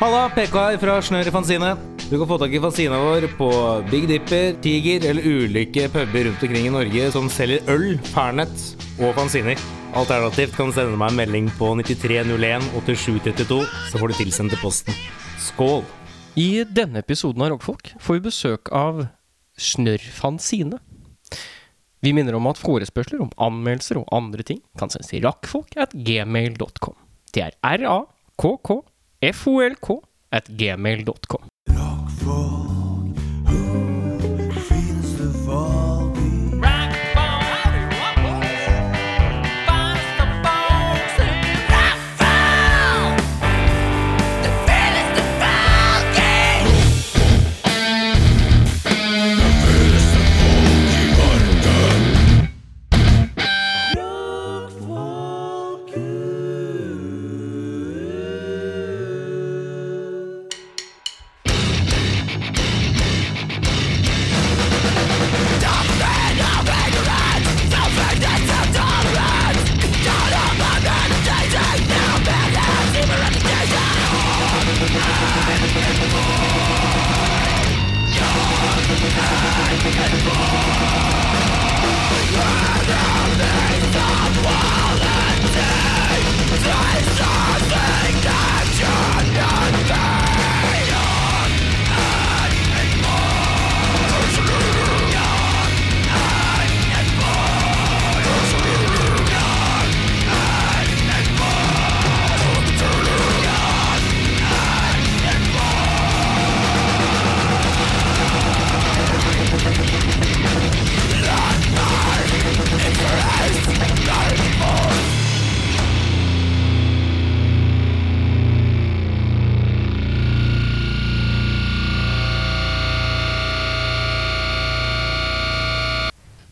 Halla, PK her fra Snør i Fanzine. Du kan få tak i fanzina vår på Big Dipper, Tiger eller ulike puber rundt omkring i Norge som selger øl, Fernet og fanziner. Alternativt kan du sende meg en melding på 9301 8732, så får du tilsendt til posten. Skål! I denne episoden av Rockfolk får vi besøk av Snørrfanzine. Vi minner om at forespørsler om anmeldelser og andre ting kan sendes til rakkfolk at gmail.com. Det er r-a-k-k-f-o-l-k at gmail.com.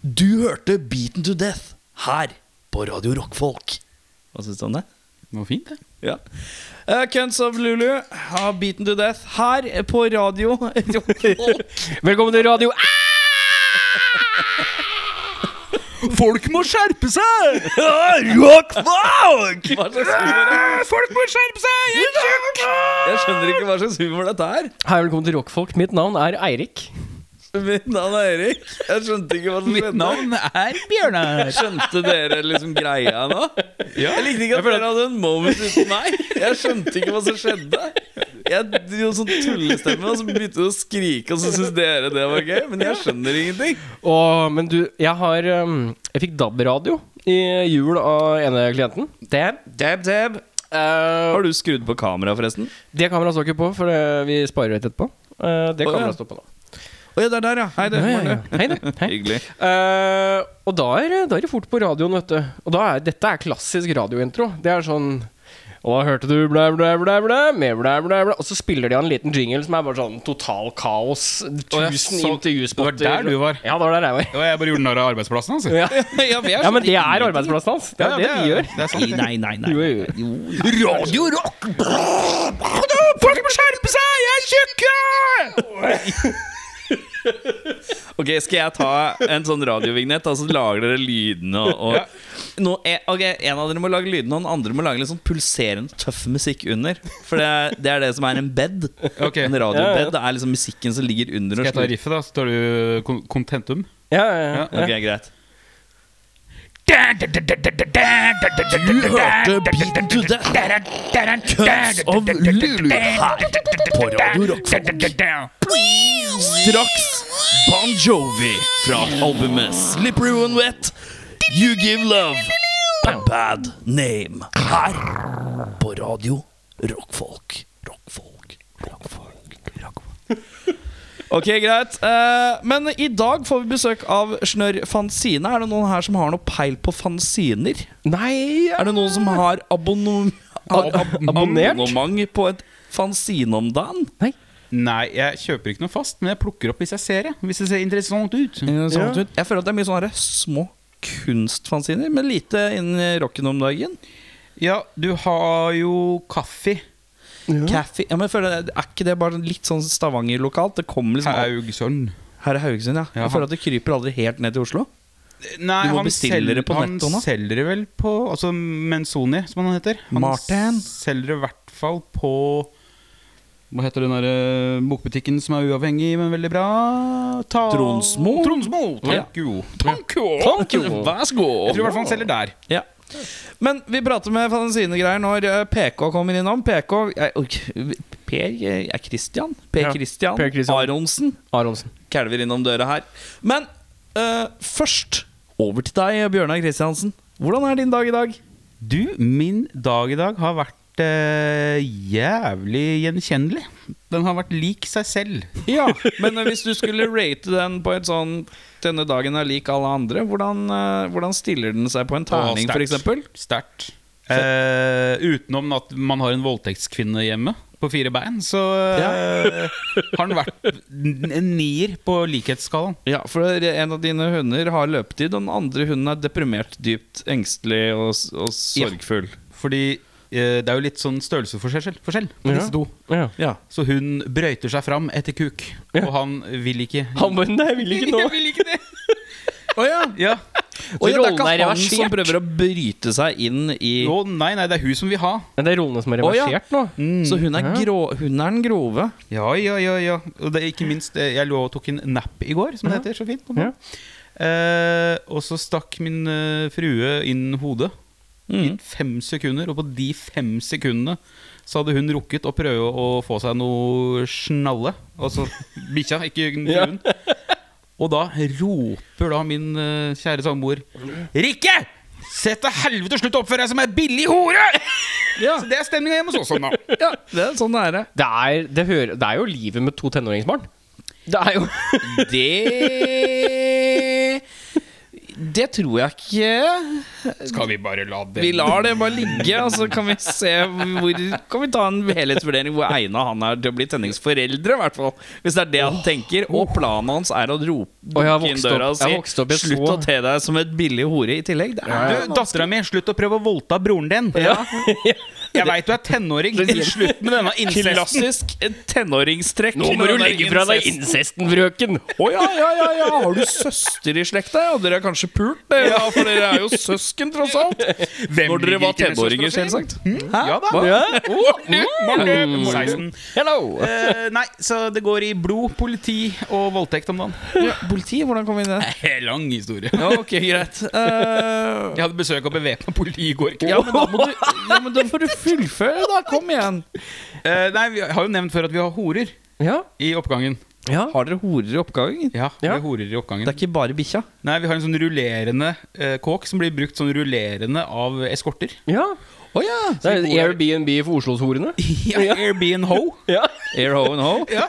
Du hørte Beaten to Death her på Radio Rockfolk. Hva syns du om det? Det var fint, det. Ja. Uh, Cunts of Lulu har Beaten to Death her på radio Rockfolk. Velkommen til radio Ah! Folk må skjerpe seg! Hva slags humor er det? Folk må skjerpe seg! Jeg Jeg skjønner ikke hva slags humor dette er. Hei, velkommen til Rockfolk. Mitt navn er Eirik. Mitt navn er Erik. Jeg skjønte ikke hva som Mitt skjedde. navn er Bjørnar. Skjønte dere liksom greia nå? Jeg likte ikke at dere hadde en moment uten meg. Jeg skjønte ikke hva som skjedde. Jeg gjorde sånn tullestemme, og så begynte jeg å skrike, og så syntes dere det var gøy. Men jeg skjønner ingenting. Og, men du, jeg har um, Jeg fikk DAB-radio i jul av ene klienten. Det, Dab, dab. uh, Har du skrudd på kamera, forresten? det kameraet står ikke på, for det, vi sparer litt etterpå. Uh, det Å, ja. kameraet står på, da. Å ja, det er der, ja. Hei, det. Ja, ja, ja. Morten. Hei, du. Hei. Hyggelig. Eh, og da er, da er det fort på radioen, vet du. Og da er, dette er klassisk radiointro. Det er sånn Og da hørte du blæ, blæ, blæ, blæ, med blæ, blæ, blæ. Og så spiller de av en liten jingle som er bare sånn total kaos. ja, Tusen så- intervjuspøtter. det var der du var. Ja, det var der jeg var. Og jeg bare gjorde narr av arbeidsplassen hans. jeg. Ja, Ja, for jeg ja men skjønte det er ingenting. arbeidsplassen hans. Det er det de gjør. Det er sant. Nei, nei, nei. Jo, jo, jo. Radio Rock! Folk må skjerpe seg! Jeg er tjukk! Ok, skal jeg ta en sånn radiovignett, og så lager dere lydene og, og Nå er, Ok, en av dere må lage lydene, og den andre må lage litt sånn pulserende tøff musikk under. For det er det, er det som er en bed. Ok. En Ja, ja. radiobed. Det er liksom musikken som ligger under. og Skal jeg ta slutter. riffet, da? Så tar du eh, kon- Contentum. Ja, ja, ja. Ok, greit. Du hørte Beaten to Death. Cuts of Lulu her på Radio Rock. Straks Bon Jovi fra albumet Slippery When Wet. You Give Love A Bad Name. Her på Radio Rockfolk. Rockfolk. Rockfolk. Rockfolk. Ok, greit. Eh, men i dag får vi besøk av Snørr Fanzine. Er det noen her som har noe peil på fanziner? Nei Er det noen som har abonnement ab ab Abonnert? abonnement på et fanzine om dagen? Nei. Nei, jeg kjøper ikke noe fast, men jeg plukker opp hvis jeg ser det. Hvis det ser interessant ut. sånn Mm. Ja. Jeg føler at det er mye sånne her små kunstfanziner, men lite innen rocken om dagen. Ja, du har jo kaffe. Kaffe ja, men jeg føler, Er ikke det bare litt sånn Stavanger-lokalt? Det kommer liksom her er, Haugesund. her er Haugesund, ja. Ja. Jeg føler at det kryper aldri helt ned til Oslo. Nei, Du må han bestille selger- det på netto nå. Han selger det vel på Altså Menzoni, som han heter. Han Martin. selger det i hvert fall på Hva heter den derre eh, bokbutikken som er uavhengig, men veldig bra? Ta Tronsmo? Tronsmo. Ja. Thank you. Thank you. Thank you. Vær så god. Jeg tror i hvert fall han selger der. Ja. Men vi prater med fanzinegreier når eh, PK kommer innom. PK jeg, ok, Per eh, er Christian. Per Ja, Christian, Per Christian. Aronsen. Aronsen. Kalver innom døra her. Men eh, først over til deg, Bjørnar Kristiansen. Hvordan er din dag i dag? Du, min dag i dag har vært eh, jævlig gjenkjennelig. Den har vært lik seg selv. Ja, Men eh, hvis du skulle rate den på et sånn Denne dagen er lik alle andre, hvordan, eh, hvordan stiller den seg på en terning, sterkt. f.eks.? Sterkt. Eh, utenom at man har en voldtektskvinne hjemme på fire bein, så eh, har den vært n- en nier på likhetsskalaen. Ja, for en av dine hunder har løpetid, og den andre hunden er deprimert, dypt engstelig og, s- og sorgfull. Fordi eh, det er jo litt sånn størrelsesforskjell forskjell på Ja. disse to. Ja. Ja. Så hun brøyter seg fram etter kuk, og han vil ikke. Han bare Nei, jeg vil ikke nå. vil ikke det! Å ja. Ja. Og ja, det er Rollen ikke er han som reversert. prøver å bryte seg inn i Jo, nei, nei, det er hun som vil ha. Men det er rollene som er Å, ja. reversert nå. Så hun er, grå, hun er den grove. Ja, ja, ja, ja. Og det er ikke minst eh, Jeg lå og tok en nap i går, som det heter så fint. på morgenen. Eh, og så stakk min eh, frue inn hodet i fem sekunder, og på de fem sekundene så hadde hun rukket å prøve å få seg noe snalle. Altså bikkja, ikke fruen. Og da roper da min eh, kjære samboer Rikke! Sett til helvete og slutt å oppføre deg som ei billig hore! Ja. Så det er stemninga hjemme hos oss nå. Ja, det er sånn det er. Det er, det, hører, det er jo livet med to tenåringsbarn. Det er jo Det Det tror jeg ikke. Skal vi bare la det Vi lar det bare ligge, og så kan vi se hvor Kan vi ta en helhetsvurdering hvor egna han er til å bli tenningsforeldre, i hvert fall. Hvis det er det han tenker. Og planen hans er å rope Og jeg har dunke inn vokst opp- døra jeg og si har vokst opp i et 'slutt å så- te deg som et billig hore' i tillegg. Det er Du, dattera mi, slutt å prøve å voldta broren din. Jeg veit du er tenåring. Slutt med denne incesten. klassisk tenåringstrekk. Nå må du Den der legge fra deg incest- incesten, frøken! Å ja, ja, ja, ja, har du søster i slekta? Ja, dere er kanskje pult, dere, ja, for dere er jo søsken, tross alt. Når dere var ligger ikke med tenåringer, søstera si? selvsagt. Ja da. Ja. Mm. Mange- 16. Hello! Eh, nei, så det går i blod, politi og voldtekt om dagen. Eh, Politi, hvordan kom vi inn i det? Lang historie. Ja, ok, greit. Eh, Jeg hadde besøk av bevæpna politi i går. ja, men da må du Ja, men da får du fullføre, da. Kom igjen. Eh, nei, Vi har jo nevnt før at vi har horer Ja. i oppgangen. ja. Har dere horer i oppgangen? Ja, vi Ja. har horer i oppgangen Det er ikke bare bikkja. Nei, Vi har en sånn rullerende eh, kåk som blir brukt sånn rullerende av eskorter. ja. Å ja. Det er Airbnb for Oslos-horene. Ja, Airbnb Ho. Ja. Air ho and ho. Ja.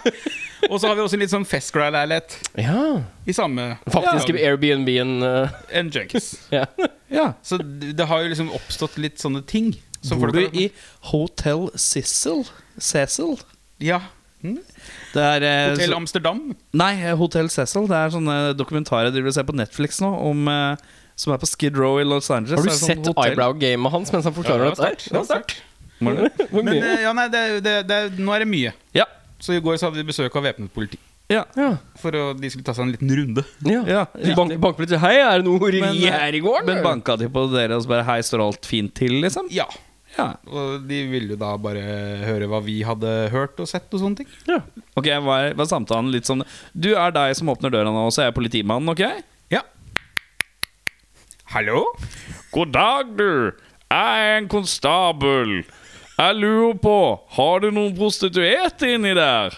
Og så har vi også en litt sånn festgreie-leilighet ja. i samme Faktisk Airbnb-en eh, en junkies. ja. Ja. Så det det har jo liksom oppstått litt sånne ting. Som Bor folk du har- i Hotel Cecil? Cecil? Ja. Det er eh, Til så- Amsterdam. Nei, eh, Hotel Cecil. Det er sånne dokumentarer jeg driver og ser på Netflix nå, om, eh, som er på Skid Row i Los Angeles. Har Det du er sånn sett hotell. eyebrow-gamet hans mens han forklarer Ja, det dette var her? sterkt, det var sterkt. Hvor Men mye? eh, ja, nei, det, er- det, er- det, er- nå er det mye. Ja. Så i går så hadde vi besøk av væpnet politi. Ja. Ja. For å, de skulle ta seg en liten runde. Ja. Ja. De bank, banker litt Hei, er det noe horeri Men, eh, her i gården? Men banka de på dere og så bare 'hei, står alt fint til', liksom? Ja. Ja. Og de ville jo da bare høre hva vi hadde hørt og sett og sånne ting. Ja. Ok, var, var samtalen litt sånn Du er deg som åpner døra nå, så er jeg politimannen, ok? Ja. Hallo? God dag, du. Jeg er en konstabel. Jeg lurer på, har du noen prostituerte inni der?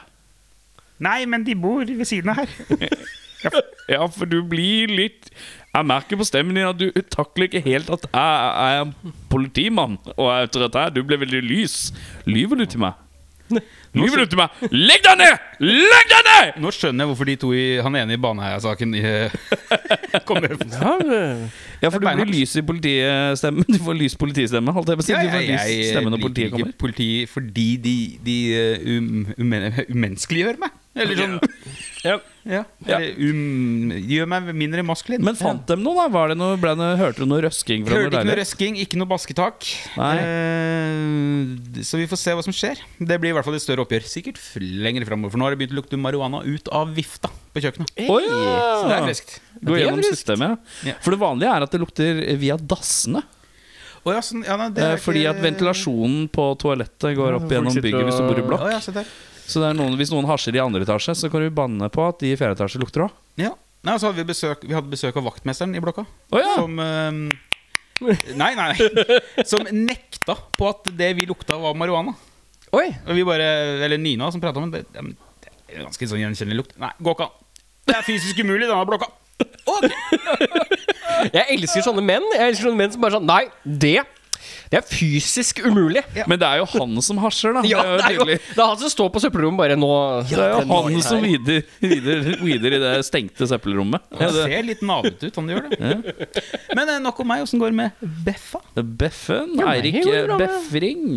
Nei, men de bor ved siden av her. Ja, for du blir litt Jeg merker på stemmen din at du takler ikke helt at jeg er en politimann og er autoritær. Du ble veldig lys. Lyver du til meg? Lyver du til meg? Legg deg ned! Legg deg ned! Nå skjønner jeg hvorfor de to i han ene i Baneheia-saken eh, kom med. Ja, men- Ja, for du Det er blir beinhardt. lys i politistemme. Du får lys politistemme, holdt jeg på å si. Ja, Du ja, får lys jeg stemme når liker politiet ikke kommer. politi fordi de, de eh, um, umen, umenneskeliggjør meg. Eller sånn Ja. ja. Eller um, gjør meg mindre maskulin. Men fant dem noe, da? Var det noe, ble det noe, hørte du noe røsking fra noe Hørte ikke noe deilig? røsking, ikke noe basketak. Nei. Eh, så vi får se hva som skjer. Det blir i hvert fall et større oppgjør. Sikkert f- lenger framover, for nå har det begynt å lukte marihuana ut av vifta på kjøkkenet. Å ja! Så det er friskt. Gå det er gjennom friskt. systemet, ja. Ja. For det vanlige er at det lukter via dassene. Å, ja, sånn, ja, nei, det Eh, er Fordi ikke- at ventilasjonen på toalettet går opp gjennom sitter bygget hvis du og- bor i blokk. Å, ja, se der. Så det er noen, hvis noen hasjer i andre etasje, så kan du banne på at de i fjerde etasje lukter òg. Ja. Nei, så hadde vi, besøk, vi hadde besøk av vaktmesteren i blokka. Å, ja. Som eh, Nei, nei. Som nekta på at det vi lukta, var marihuana. Oi! Og vi bare, eller Nina som prata om det. ja, men Det er ganske sånn gjenkjennelig lukt. Nei, går ikke an. Det er fysisk umulig, denne blokka. Jeg elsker sånne menn. Jeg elsker sånne menn som bare sånn Nei, det Det er fysisk umulig. Men det er jo han som hasjer, da. Ja, det er jo tydelig. Det er han som står på søppelrommet bare nå Det er jo nå han som weeder, weeder, weeder i det stengte søppelrommet. Han ser litt navete ut, han gjør det. Men eh, nok om meg. Åssen går det med Beffa? Beffen? Ja, nei, Eirik det går bra med- Befring?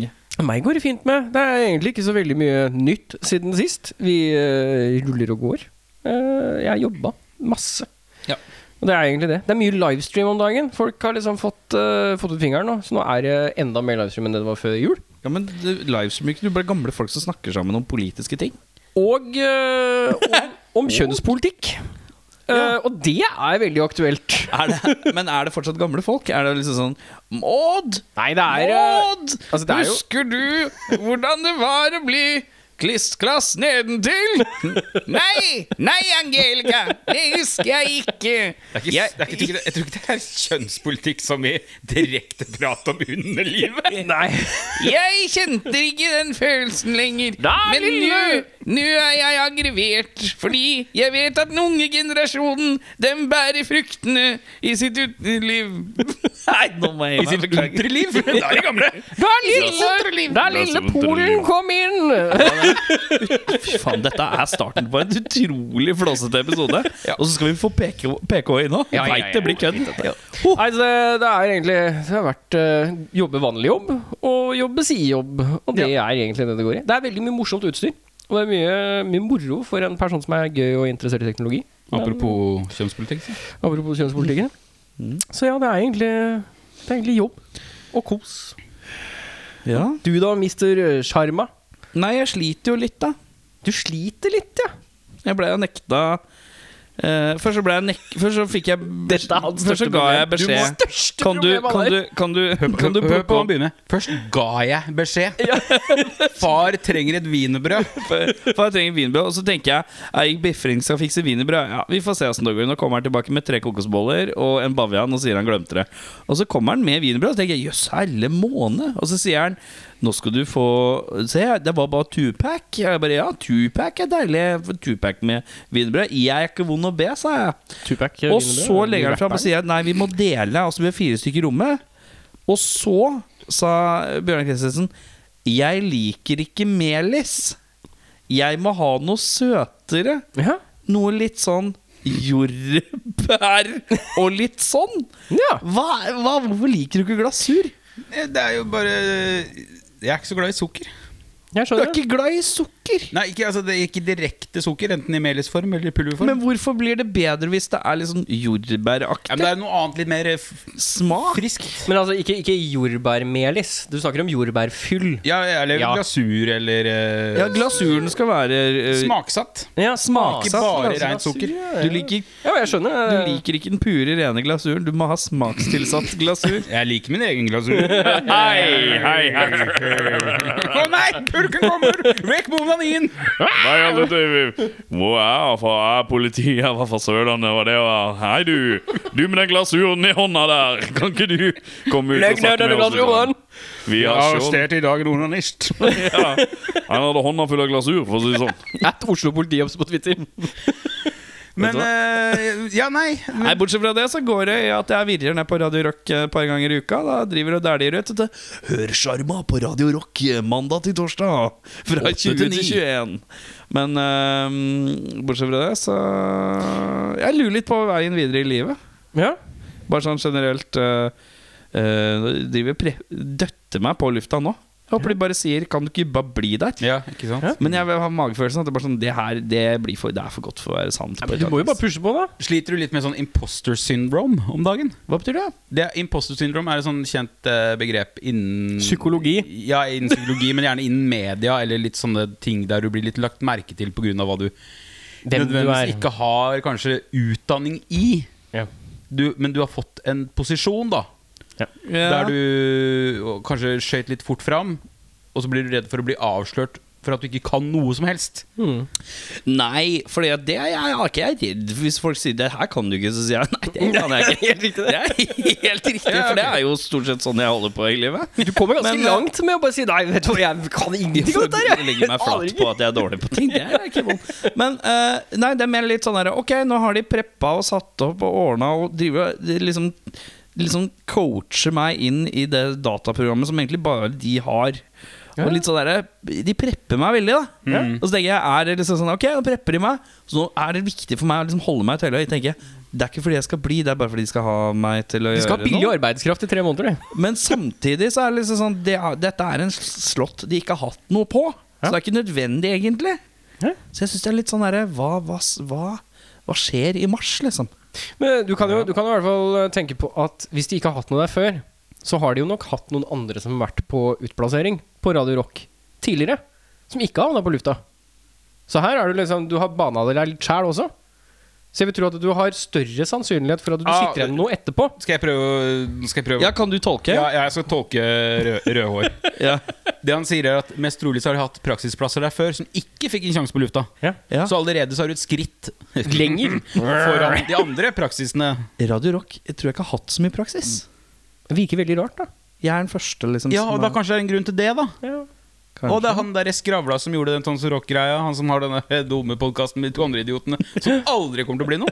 Meg går det fint med. Det er egentlig ikke så veldig mye nytt siden sist. Vi eh, ruller og går. Eh, jeg har jobba masse. Ja. Og det er egentlig det. Det er mye livestream om dagen. Folk har liksom fått, eh, fått ut fingeren nå, så nå er det enda mer livestream enn det det var før jul. Ja, men det- livestream er ikke bare gamle folk som snakker sammen om politiske ting. Og eh, om, om kjønnspolitikk. Eh, og det er veldig aktuelt. Er det, men er det fortsatt gamle folk? Er det liksom sånn Maud! Nei, det er eh, Maud! altså, det er jo- Husker du hvordan det var å bli klistklass nedentil? Nei! Nei, Angelica! Det husker jeg ikke. Det er ikke, Jeg- det er ikke, jeg tror ikke det- jeg tror ikke det er kjønnspolitikk som i direkte prat om underlivet. Nei. Jeg kjente ikke den følelsen lenger. Nei, men nå lille- nå er jeg aggravert. Fordi jeg vet at den unge generasjonen, dem bærer fruktene i sitt utenliv. Nei, nå må jeg I sitt utenliv? Da er de gamle. Da lille, da lille Polen kom inn! Faen, dette er starten på en utrolig flåsete episode. Og så skal vi få PK, PK inn nå. Jeg Ja, ja, ja, veit det blir kødd. Nei, det, det er egentlig Det har vært eh, jobbe vanlig jobb og jobbe sidejobb. Og det er egentlig det det går i. Det er veldig mye morsomt utstyr. Og det er mye, mye moro for en person som er gøy og interessert i teknologi. Apropos kjønnspolitikk. så. Apropos kjønnspolitikken. Så ja, det er egentlig, det er egentlig jobb. Og kos. Ja. Du da, mister Sjarma. Nei, jeg sliter jo litt, da. Du sliter litt, ja. Jeg ble jo nekta eh, Først så ble jeg nek... Først så fikk jeg Dette er hans Først så største ga jeg problem. beskjed Du må- Største kan du, problem kan aller. du, kan du, kan du Hør på på han begynne. Først ga jeg beskjed. Far trenger et wienerbrød. For jeg trenger wienerbrød. Og så tenker jeg Eirik Befring skal fikse wienerbrød. Ja, vi får se åssen det går. Nå kommer han tilbake med tre kokosboller og en bavian og sier han glemte det. Og så kommer han med wienerbrød, og så tenker jeg jøss, herre måne. Og så sier han nå skal du få Se, det var bare tupac. Jeg bare ja, tupac er deilig. Tupac med wienerbrød. Jeg er ikke vond å be, sa jeg. Tupac, Og så legger han fram og sier nei, vi må dele, altså vi er fire stykker i rommet. Og så sa Bjørnar Kristiansen Jeg liker ikke melis. Jeg må ha noe søtere. Ja. Noe litt sånn jordbær og litt sånn. Ja. Hva, hva, hvorfor liker du ikke glasur? Det er jo bare Jeg er ikke så glad i sukker. Jeg Du er skjønner. ikke glad i sukker. Nei, ikke, altså, det er ikke direkte sukker, enten i melisform eller pulverform. Men hvorfor blir det bedre hvis det er litt sånn ja, men det jordbæraktig er noe annet litt mer eh, f- smak? friskt. Men altså, ikke, ikke jordbærmelis. Du snakker om jordbærfyll. Ja, eller Ja. glasur, eller eh, Ja, glasuren skal være eh, smaksatt. Ja, Ikke smaksatt. bare rent sukker. Du liker Ja, jeg skjønner. eh, Du liker ikke den pure, rene glasuren. Du må ha smakstilsatt glasur. Jeg liker min egen glasur. Hei, hei, hei. Å nei, pulken kommer! Vekk med onanien! Nei, altså, det, hvor er jeg fra? Jeg er politi, jeg var fra Sørlandet, og det var Hei, du! Du med den glasuren i hånda der, kan ikke du komme ut og Legg ned snakke denne med oss? litt glasuren! grann? Vi har sjål. i dag en onanist. Ja. Han hadde hånda full av glasur, for å si det sånn. At Oslo politiops på Twitter. Men eh, Ja, nei. Nei, Bortsett fra det så går det i at jeg virrer ned på Radio Rock eh, et par ganger i uka. Da driver og dæljer ut. Dette. Hør Sjarma på Radio Rock eh, mandag til torsdag fra 20 til 21. Men eh, bortsett fra det, så Jeg lurer litt på veien videre i livet. Ja. Bare sånn generelt uh, Driver pre døtter meg på lufta nå. Jeg håper de bare sier 'kan du ikke bare bli der'? Ja, ikke sant? Men jeg har magefølelsen at det, er bare sånn, det her det blir for, det er for godt for å være sant. på et Du eller må jo annet bare pushe på, da. Sliter du litt med sånn imposter syndrome om dagen? vis. Hva betyr det? Det, imposter syndrome er et sånn kjent eh, begrep innen Psykologi. Ja, innen psykologi, men gjerne innen media, eller litt sånne ting der du blir litt lagt merke til pga. hva du Hvem du er. nødvendigvis ikke har kanskje utdanning i. Ja. Du, men du har fått en posisjon, da. Der du og kanskje skøyt litt fort fram, og så blir du redd for å bli avslørt for at du ikke kan noe som helst. Nei, for det, det er jeg er ikke jeg redd for. Hvis folk sier 'det her kan du ikke', så sier jeg nei, det kan jeg ikke. Det er helt riktig, for det er jo stort sett sånn jeg holder på i livet. Du kommer ganske Men, eh, langt med å bare si 'nei, vet du hva, jeg kan ingenting om dette her'. Jeg legger Aner meg flat ikke. på at jeg er dårlig på ting. Det er ikke vondt. Men eh, nei, det er mer litt sånn her Ok, nå har de preppa og satt opp og ordna og driver og- de liksom, liksom coacher meg inn i det dataprogrammet som egentlig bare de har. Og litt sånn der, De prepper meg veldig, da. Og så tenker jeg, er det liksom sånn Ok, nå prepper de meg. Så nå er det viktig for meg å liksom holde meg i tøyla. Jeg tenker, Det er ikke fordi jeg skal bli, det er bare fordi de skal ha meg til å Du skal gjøre ha billig noe. arbeidskraft i tre måneder, du. Men samtidig så er det liksom sånn det er, Dette er en slott de ikke har hatt noe på. Så det er ikke nødvendig, egentlig. Ja. Så jeg syns det er litt sånn derre hva, hva, s- hva, hva skjer i mars, liksom? Men du kan jo du kan i hvert fall eh, tenke på at hvis de ikke har hatt noe der før, så har de jo nok hatt noen andre som har vært på utplassering på Radio Rock tidligere, som ikke har havna på lufta. Så her er du liksom Du har bana deg litt sjæl også. Så jeg vil tro at du har større sannsynlighet for at du Ah, sitter igjen med noe etterpå. Skal jeg prøve å- Skal jeg prøve Ja, kan du tolke? Ja, jeg skal tolke rød, rødhår. Ja. Det han sier er at Mest trolig så har de hatt praksisplasser der før som ikke fikk en sjanse på lufta. Ja. Så allerede så har du et skritt Lenger. foran de andre praksisene. Radio Rock jeg tror jeg ikke har hatt så mye praksis. Det virker veldig rart, da. Jeg er den første, liksom. Ja, som og da er- kanskje det er en grunn til det, da. kanskje. Og det er han der skravla som gjorde den Tons Rock-greia. Han som har denne dumme podkasten med de to andre idiotene som aldri kommer til å bli noe.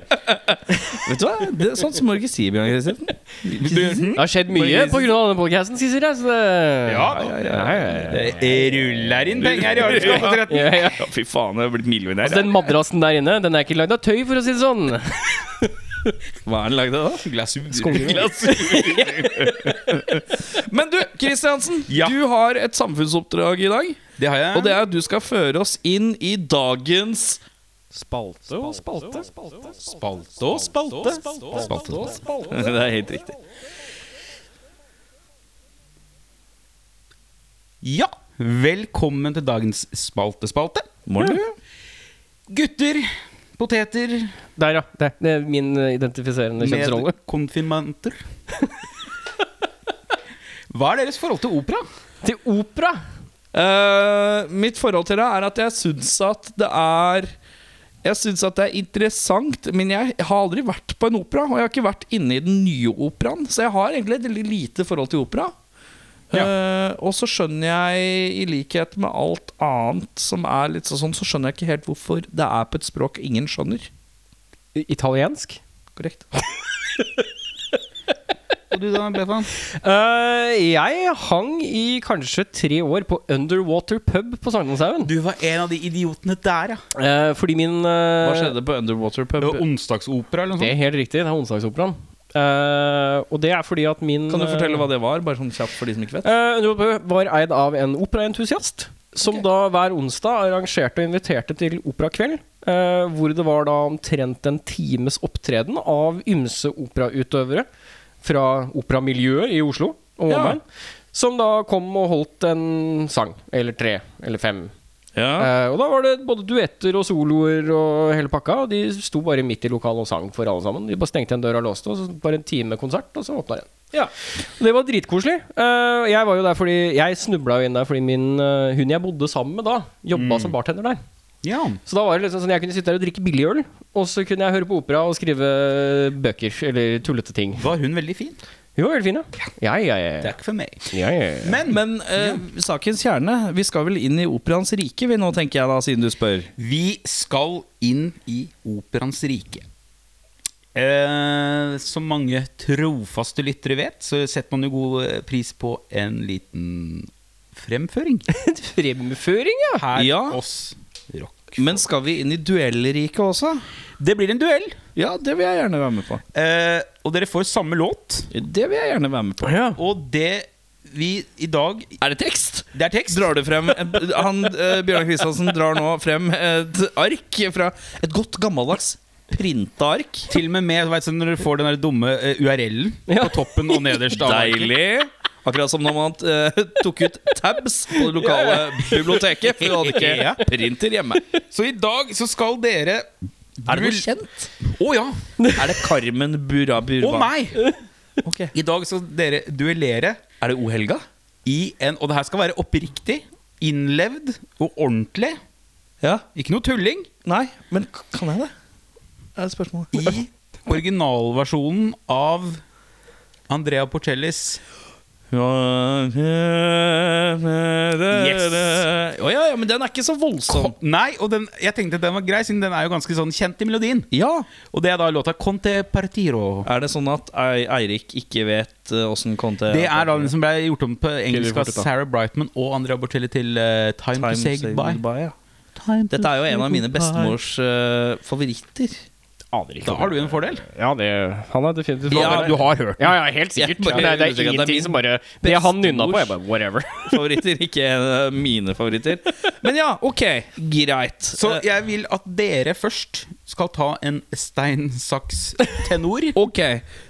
Vet du hva? Det er sånt som Morgan sier, Bjørn Kristiansen. Det har skjedd mye pga. denne podcasten, sier jeg. Så det Ja, det ruller inn penger i arbeidskapet. ja, ja. Ja, fy faen, jeg er blitt millionær. Altså, den madrassen der inne, den er ikke lagd av tøy, for å si det sånn. Hva er den lagd av, da? Men du, Kristiansen. Ja. Du har et samfunnsoppdrag i dag. Det har jeg. Og det er at du skal føre oss inn i dagens spalte og spalte. Spalte og spalte. Spalte og spalte. Det er helt riktig. Ja, velkommen til dagens spaltespalte. Morgen. Gutter, poteter Der, ja. Det, det er min eh, identifiserende kjønnsrolle. Medkonfirmanter. Hva er deres forhold til opera? Til opera! Eh, mitt forhold til det er at jeg syns at det er Jeg syns at det er interessant, men jeg har aldri vært på en opera. Og jeg har ikke vært inne i den nye operaen, så jeg har egentlig et veldig lite forhold til opera. Eh, og så skjønner jeg, i likhet med alt annet som er litt sånn, så skjønner jeg ikke helt hvorfor det er på et språk ingen skjønner. I- Italiensk. Korrekt. Og du da, Bethan? Eh, jeg hang i kanskje tre år på Underwater pub på Sankthanshaugen. Du var en av de idiotene der, ja. Eh, fordi min eh, Hva skjedde på Underwater Pub? Onsdagsopera eller Det er helt riktig. Det er Onsdagsoperaen. Eh, og det er fordi at min Kan du fortelle hva det var? Bare sånn kjapt for de som ikke vet. Eh, Underwater Pub var eid av en operaentusiast, som da hver onsdag arrangerte og inviterte til operakveld. eh, hvor det var da omtrent en times opptreden av ymse operautøvere fra operamiljøet i Oslo og Ja. omegn. Som da kom og holdt en sang, eller tre, eller fem. Eh, og da var det både duetter og soloer og hele pakka. Og de sto bare midt i lokalet og sang for alle sammen. De bare stengte en dør og låste, og så bare en time konsert, og så åpna den. Ja. Og Det var dritkoselig. Eh, jeg var jo der fordi Jeg snubla jo inn der fordi min, eh, hun jeg bodde sammen med da, Mm. jobba som bartender der. Ja. Så da var det liksom sånn jeg kunne sitte der og drikke billig øl, og så kunne jeg høre på opera og skrive bøker eller tullete ting. Var hun veldig fin? Jo, veldig fin, ja. Ja, ja, Det ja. er ikke for meg. ja, ja, ja. Men, Men eh, sakens kjerne, vi skal vel inn i operaens rike vi nå, tenker jeg da, siden du spør. vi skal inn i operaens rike. Eh, som mange trofaste lyttere vet, så setter man jo god eh, pris på en liten fremføring. Fremføring, ja. Her Ja. oss rock. Men skal vi inn i duellriket også? Det blir en duell, Ja, det vil jeg gjerne være med på. eh, og dere får samme låt. Det vil jeg gjerne være med på. Og det vi i dag Er det tekst? Det er tekst. Drar du frem han, eh, Bjørnar Kristiansen drar nå frem et ark fra et godt gammeldags printa ark. Til og med med vet du, når dere får den der dumme eh, URL-en Ja. på toppen og nederst. av arket. Deilig. Akkurat som når man eh, tok ut tabs på det lokale biblioteket, for du hadde Ja. ikke printer hjemme. Så i dag så skal dere Er det noe kjent? Å ja! Er det Carmen Burabura? Å nei! I dag skal dere duellere Er det O Helga? i en Og det her skal være oppriktig, innlevd og ordentlig. Ja. Ikke noe tulling. Nei, men k- kan jeg det? Er det spørsmålet? I originalversjonen av Andrea Porcellis Yes. Å ja, ja, men den er ikke så voldsom. Nei, og den, jeg tenkte den var grei, siden den er jo ganske sånn kjent i melodien. Ja. Og det er da låta 'Conte Partiro'. Er det sånn at Ei- Eirik ikke vet eh, åssen Conte Det er da den som ble gjort om på engelsk av fortet, da. Sarah Brightman og Andrea Bocelli til eh, time, to Say Goodbye. ja. Dette er jo en av mine bestemors eh, favoritter. Aner ikke. Da har du en fordel. Ja, det, han er definitivt Ja, du har hørt Ja, ja, helt sikkert. Jeg Nei, bare- det jeg husker er ikke at det er ingenting min som bare Det han nynna på, bestemors- jeg bare whatever. Favoritter, ikke eh, mine favoritter. Men ja, ok, greit. Så Eh, jeg vil at dere først skal ta en stein, saks, tenor. Ok,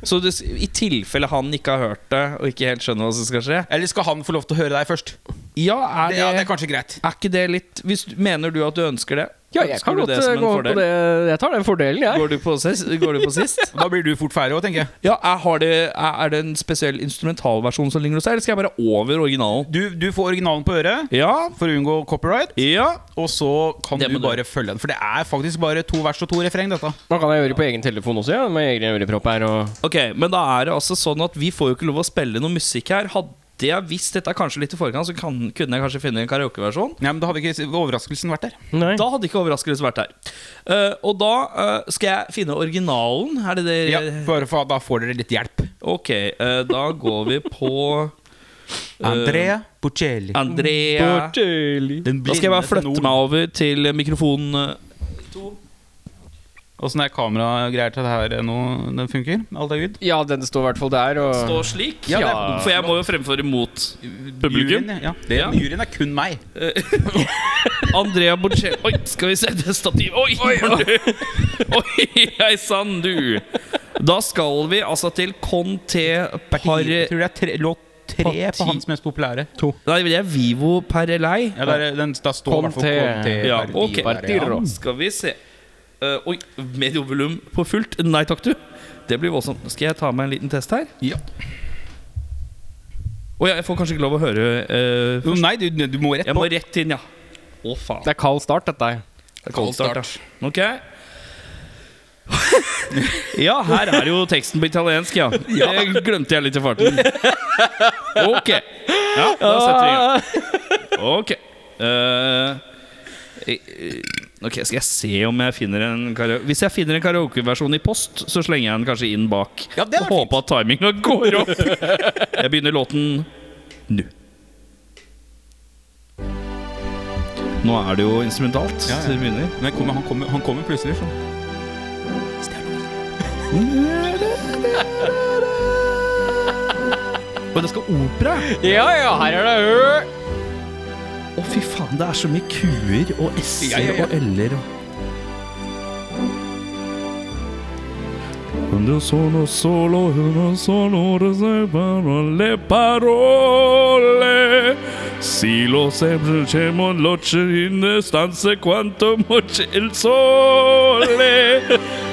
Så du, s- i tilfelle han ikke har hørt det og ikke helt skjønner hva som skal skje Eller skal han få lov til å høre deg først? Ja, er Det, det, ja, det er, er kanskje greit. ikke det litt hvis, du- Mener du at du ønsker det? Ja, jeg Ønsker kan du godt det som eh, en gå fordel? på det. Jeg tar den fordelen, jeg. Går du på sist? Går du på sist? Og Da blir du fort ferdig òg, tenker jeg. Ja, er, har det, er er det en spesiell instrumentalversjon som ligner hos deg, eller skal jeg bare over originalen? Du, du får originalen på øret Ja. for å unngå copyright. Ja. Og så kan Det du må du. bare følge den. For det er faktisk bare to vers og to refreng, dette. Hva kan jeg gjøre på egen telefon også? Ja? Med egen ørepropp her og Ok, men da er det altså sånn at vi får jo ikke lov å spille noe musikk her. Hadde jeg visst dette er kanskje litt i forkant, så kan, kunne jeg kanskje finne en karaokeversjon. Ja, men da hadde ikke overraskelsen vært der. Nei. Da hadde ikke overraskelse vært her. Eh, og da eh, skal jeg finne originalen. Er det det Ja, bare for, da får dere litt hjelp. Ok, eh, da går vi på eh, Andrea Bocelli. Andrea Den Da skal jeg bare flytte meg over til mikrofonen. Åssen er kameragreier til det her eh, nå? Den funker? Alt er good? Ja, den står i hvert fall der. Og... Stå eh, slik. Ja, det er- For jeg må jo fremføre mot publikum. Juryen, ja. Det, Ja. juryen er kun meg. Andrea Bocelli Oi, skal vi se det stativ Oi, var du Oi, hei sann, du Da skal vi altså til Conte Par... Jeg tror det er tre, låt tre Parti- på hans mest populære. Nei, det er Vivo Parelei Ja, der, eh, den, da står i hvert fall Conte. Conte Ja, Verdi ok der, ja. Partiro. Skal vi se Eh, Oi, mediovolum på fullt Nei takk du Det blir voldsomt Skal jeg ta meg en liten test her? Ja. Å ja, jeg får kanskje ikke lov å høre eh, Jo, Nei, du, du må rett Jeg på. må rett inn, ja Å faen Det er kald start, dette her. Cold start, ja. Ok. ja, her er jo teksten på italiensk, ja. Det glemte jeg litt i farten. Ok. Ja, da setter vi i gang. Ok. Eh, eh, ok, Skal jeg se om jeg finner en karaoke Hvis jeg finner en karaokeversjon i post, så slenger jeg den kanskje inn bak. Ja, det er og håper at timinga går opp. Jeg begynner låten nå. Nå er det jo instrumentalt. Ja, ja. så det begynner Men han kommer, han kommer, han kommer plutselig sånn. Og det skal opera! Ja, ja, her er det ø. Å, fy faen, det er så mye kuer og s-er Ja, ja, ja. og l-er og Quando sono solo, uno solo, se parole, parole. Si lo sempre c'è mon loce in stanze quanto moce il sole.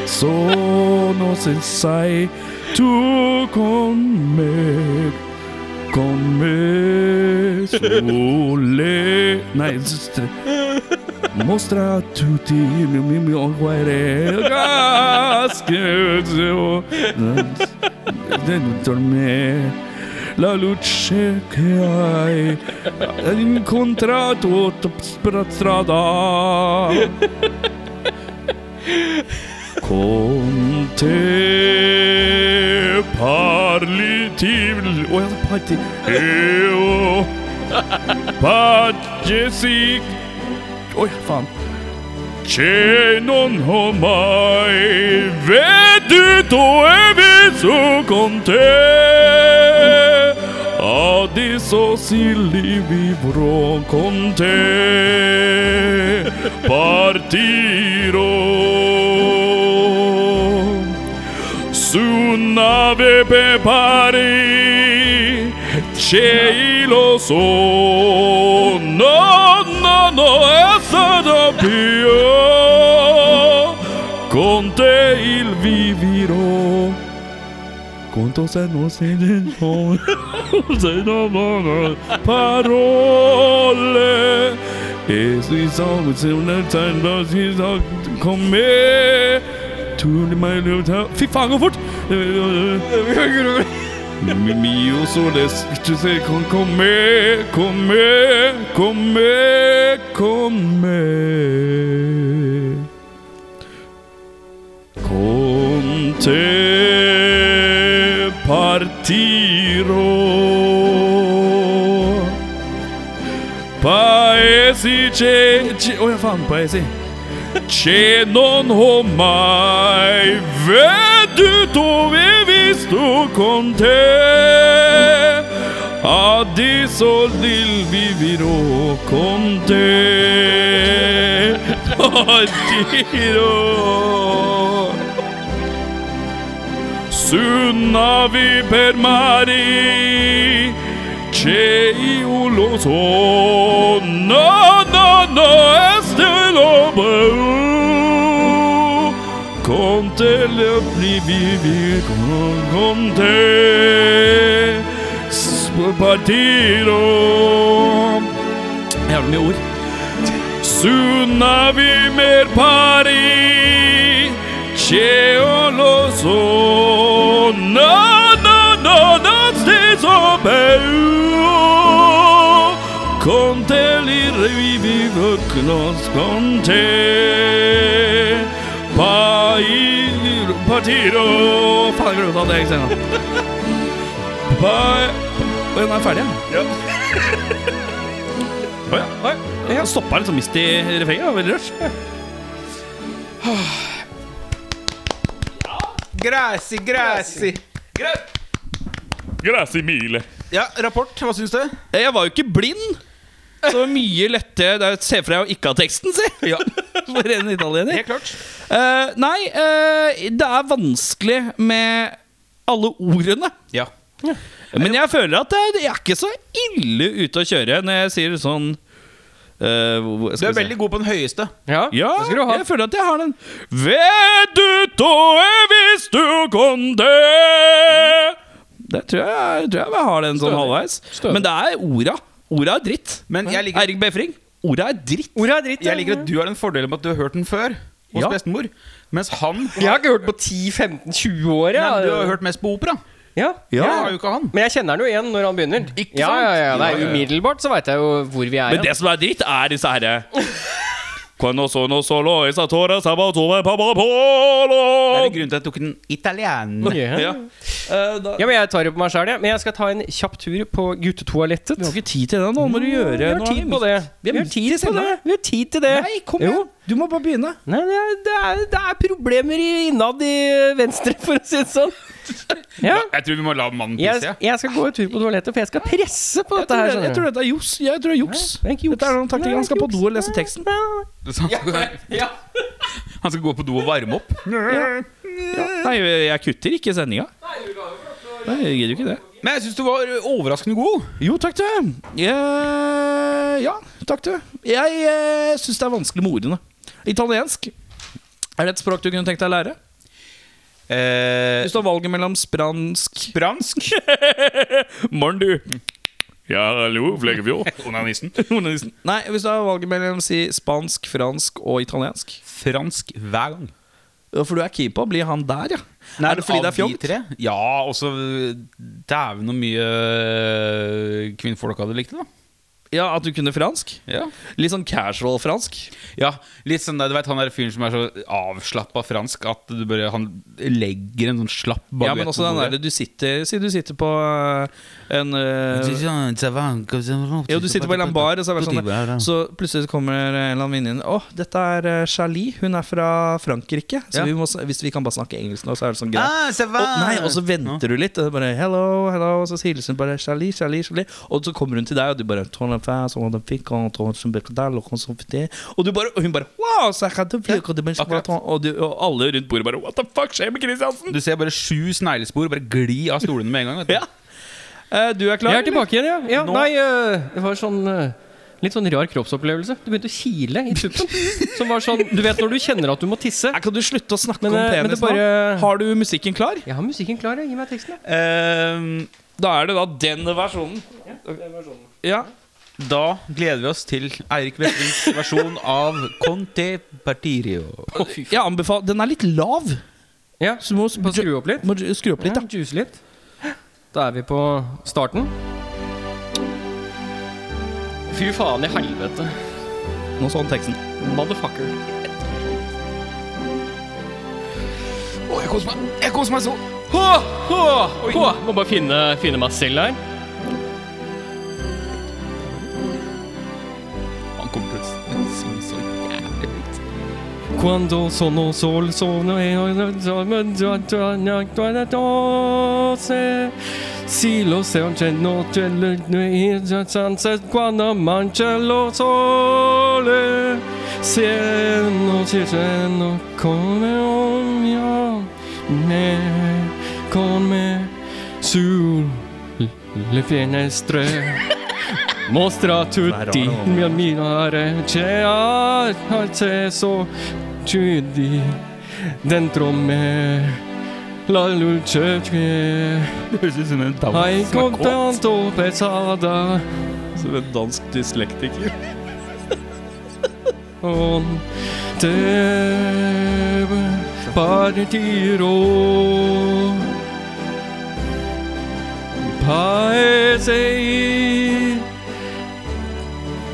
Sono se sai tu con me. Con me sole. Nei, s- s- Mostra a tutti il mio mio mio cuore Caschezzo Dentro me La luce che hai Incontrato per strada Con te Parli ti Oh, jeg parli Eo Pace sic Oi, faen. C'è non ho mai veduto e visto con te. Adesso si li vivrò con te. Partirò su nave per Pari c'è lo so no no no è stato più con te il vivirò kom til å sende oss inn i en sånn Siden mange parole Es vi sammen som den tegnbørs i dag Kom med Turen til meg løp til Fy faen, gå fort! Mio Soles Du ser, kom, kom med Kom med Kom med Kom med Con te partirò Paesi ce... ce oh, ja, faen, paesi Ce non ho mai veduto e visto con te Adesso il vivirò con te Oh, Partirò su navi per mari c'è io lo so no no no este lo beu con te le vivi con, con te S- partirò jævlig mye ord Tsunami mer pari Ceolo so No, no, no, no Steso beu Con te li revivi Vøknos con te Pai Partiro Faen, jeg glemte å ta det eksempelet Pai Oi, nå er jeg ferdig, ja. Å ja. Oi, Jeg stoppa liksom mist i refrenget. Det var Veldig rørt. Grassi, grassi. Grazie mille. Ja, rapport. Hva syns du? Eh, Jeg var jo ikke blind. Så det var mye lettere det er, Se for deg å ikke ha teksten, si! Ja. For en italiener. Helt klart. Eh, nei, eh, det er vanskelig med alle ordene. Ja. Men jeg føler at det er, jeg er ikke så ille ute å kjøre når jeg sier sånn eh, hvor- hvor- Du skal er vi se. veldig god på den høyeste. Ja, Ja, det skal du ha. jeg føler at jeg har den. Vet du tåe hvis du kan det? Det tror jeg, tror jeg jeg har den sånn halvveis. Stødig. Men det er orda. Orda er dritt. Men jeg liker, Eirik Befring, orda er dritt. Ordet er dritt. jeg liker at du har den fordelen med at du har hørt den før hos Ja. bestemor. Mens han Jeg har ikke hørt på 10-15-20 år. Nei, Ja. men Du har hørt mest på opera. ja. Ja. Det har jo ikke han. Men jeg kjenner den jo igjen når han begynner. Ikke ja, sant? ja, ja, det er Umiddelbart så veit jeg jo hvor vi er. Men det som er dritt, er disse herre Quando sono solo e satora sabato e Det er papapolo en grunn til at jeg tok den ja. italiener. Ja. ja, men jeg tar det på meg sjæl, jeg. Men jeg skal ta en kjapp tur på guttetoalettet. Vi har ikke tid til det nå. Må du gjøre Vi har noe. tid på det. Vi har tid til på det. senere. Vi har tid til det. Nei, kom igjen. Jo. Du må bare begynne. Nei, det er, det, er, det er problemer i- innad i Venstre, for å si det sånn. Ja. Jeg tror vi må la mannen Jeg, pisse. ja. jeg skal gå en tur på toalettet, for jeg skal presse på Jeg dette tror, her. det, jeg skjønner tror du. dette er juks. Jeg tror det er juks. Det er ikke juks. Dette er noen taktikk. Nei, Han skal på juks. do og lese teksten. Nei, nei, nei. Så han skal- Han skal gå på do og varme opp. Nei, jeg kutter ikke sendinga. Nei, jeg gidder jo ikke det. Men jeg syns du var overraskende god. Jo, takk, du. Eh, ja, takk, du. Jeg uh, syns det er vanskelig med ordene. Italiensk. Er det et språk du kunne tenkt deg å lære? Eh, Hvis du har valget mellom spransk fransk. Morn, du. Ja, hallo, Flekkefjord. Onanisten. Onanisten. Nei, hvis du har valget mellom si spansk, fransk og italiensk. Fransk hver gang. Ja, For du er keen på å bli han der, ja. Nei, er det fordi av det er fjongt? de tre? Ja, også Dæven så mye øh, kvinnfolk hadde likt det, da. Ja, At du kunne fransk? Ja. Litt sånn casual fransk. ja litt sånn, der, Du vet han der fyren som er så avslappa fransk at du bare, han legger en sånn slapp Ja, men også den der du sitter Si du sitter på eh, en eh, sånn, Ja, du sitter på en eller annen bar, og så, er det sånn, så plutselig så kommer en eller annen venninne inn. Å, dette er eh, Charlie. Hun er fra Frankrike. Så Ja. vi må, s- hvis vi kan bare snakke engelsk nå, så er det sånn greit. Ah, ça va. Og, nei, og så venter du litt, og det bare hello, hello, og så hilser hun bare Charlie, Charlie, Charlie. Og så kommer hun til deg, og du bare «Ton en fæs, og den fikk han, ton som ble der, og han som fikk det». Og du bare, og hun bare wow, så jeg kan det bli, og det blir sånn, akkurat. og, du, og alle rundt bordet bare what the fuck skjer med Kristiansen? Du ser bare sju sneglespor bare gli av stolene med en gang. Vet du. Ja. Eh, du er klar? Jeg er tilbake igjen, ja. ja Nå- nei, øh, det var sånn øh, Litt sånn rar kroppsopplevelse. Du begynte å kile i tuppen. Som var sånn Du vet når du kjenner at du må tisse? Nei, Kan du slutte å snakke Men, om eh, men penis det bare- nå? Har du musikken klar? Jeg har musikken klar, jeg. Gi meg teksten. jeg. Ehm, da er det da den versjonen. Ja. Da gleder vi oss til Eirik Veslings versjon av Conte Partirio. Jeg anbefaler Den er litt lav. Ja, Så du må, Bare skru opp litt. må du skru opp litt, da. Ja, juice litt. Da er vi på starten. Fy faen i helvete. Nå så han teksten. Motherfucker. Å, jeg koser meg. Jeg koser meg så. Hå, hå, hå. Må bare finne, finne meg selv her. Han kommer til å synge sånn. Quando sono sol sono e Si lo se c'è notte e sunset quando mangia lo sole Se non ci sono come un mio me come sul le finestre Mostra a tutti il mio ammirare C'è acceso giù di dentro me La luce che hai contanto pesata Som en dansk dyslektiker. con te partirò paese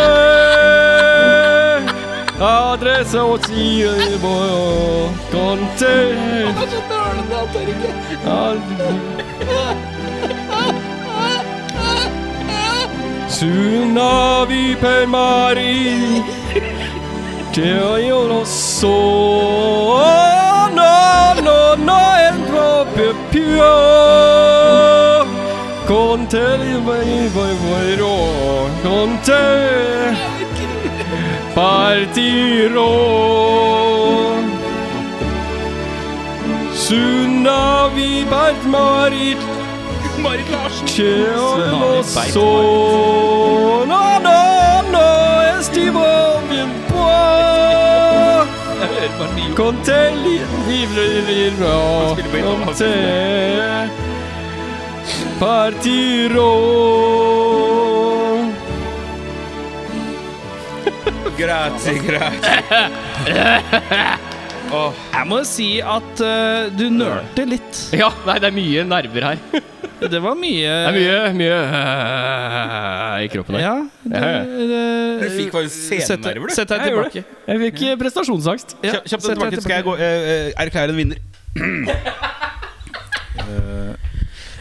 Adresso silvo con te Aldri- Tsunavi per mari Che io lo so Oh, No, no, no, è proprio più Con te li vai, vai, vai, Con te Partirò Tsunavi per mari Cielo sono no no estivo bien può con te li vivrò con te partirò Grazie, grazie. Jeg må si at eh, du nølte litt. Ja, nei, det er mye nerver her. Det Det var mye mye, mye i kroppen Ja. Ja, Du fikk bare Sett deg scenenerver, du. sett deg Jeg gjorde tilbake. Jeg fikk eh, prestasjonsangst. Ja, Kjapt kjapt sett deg tilbake. Skal jeg gå, eh, eh, erklære en vinner?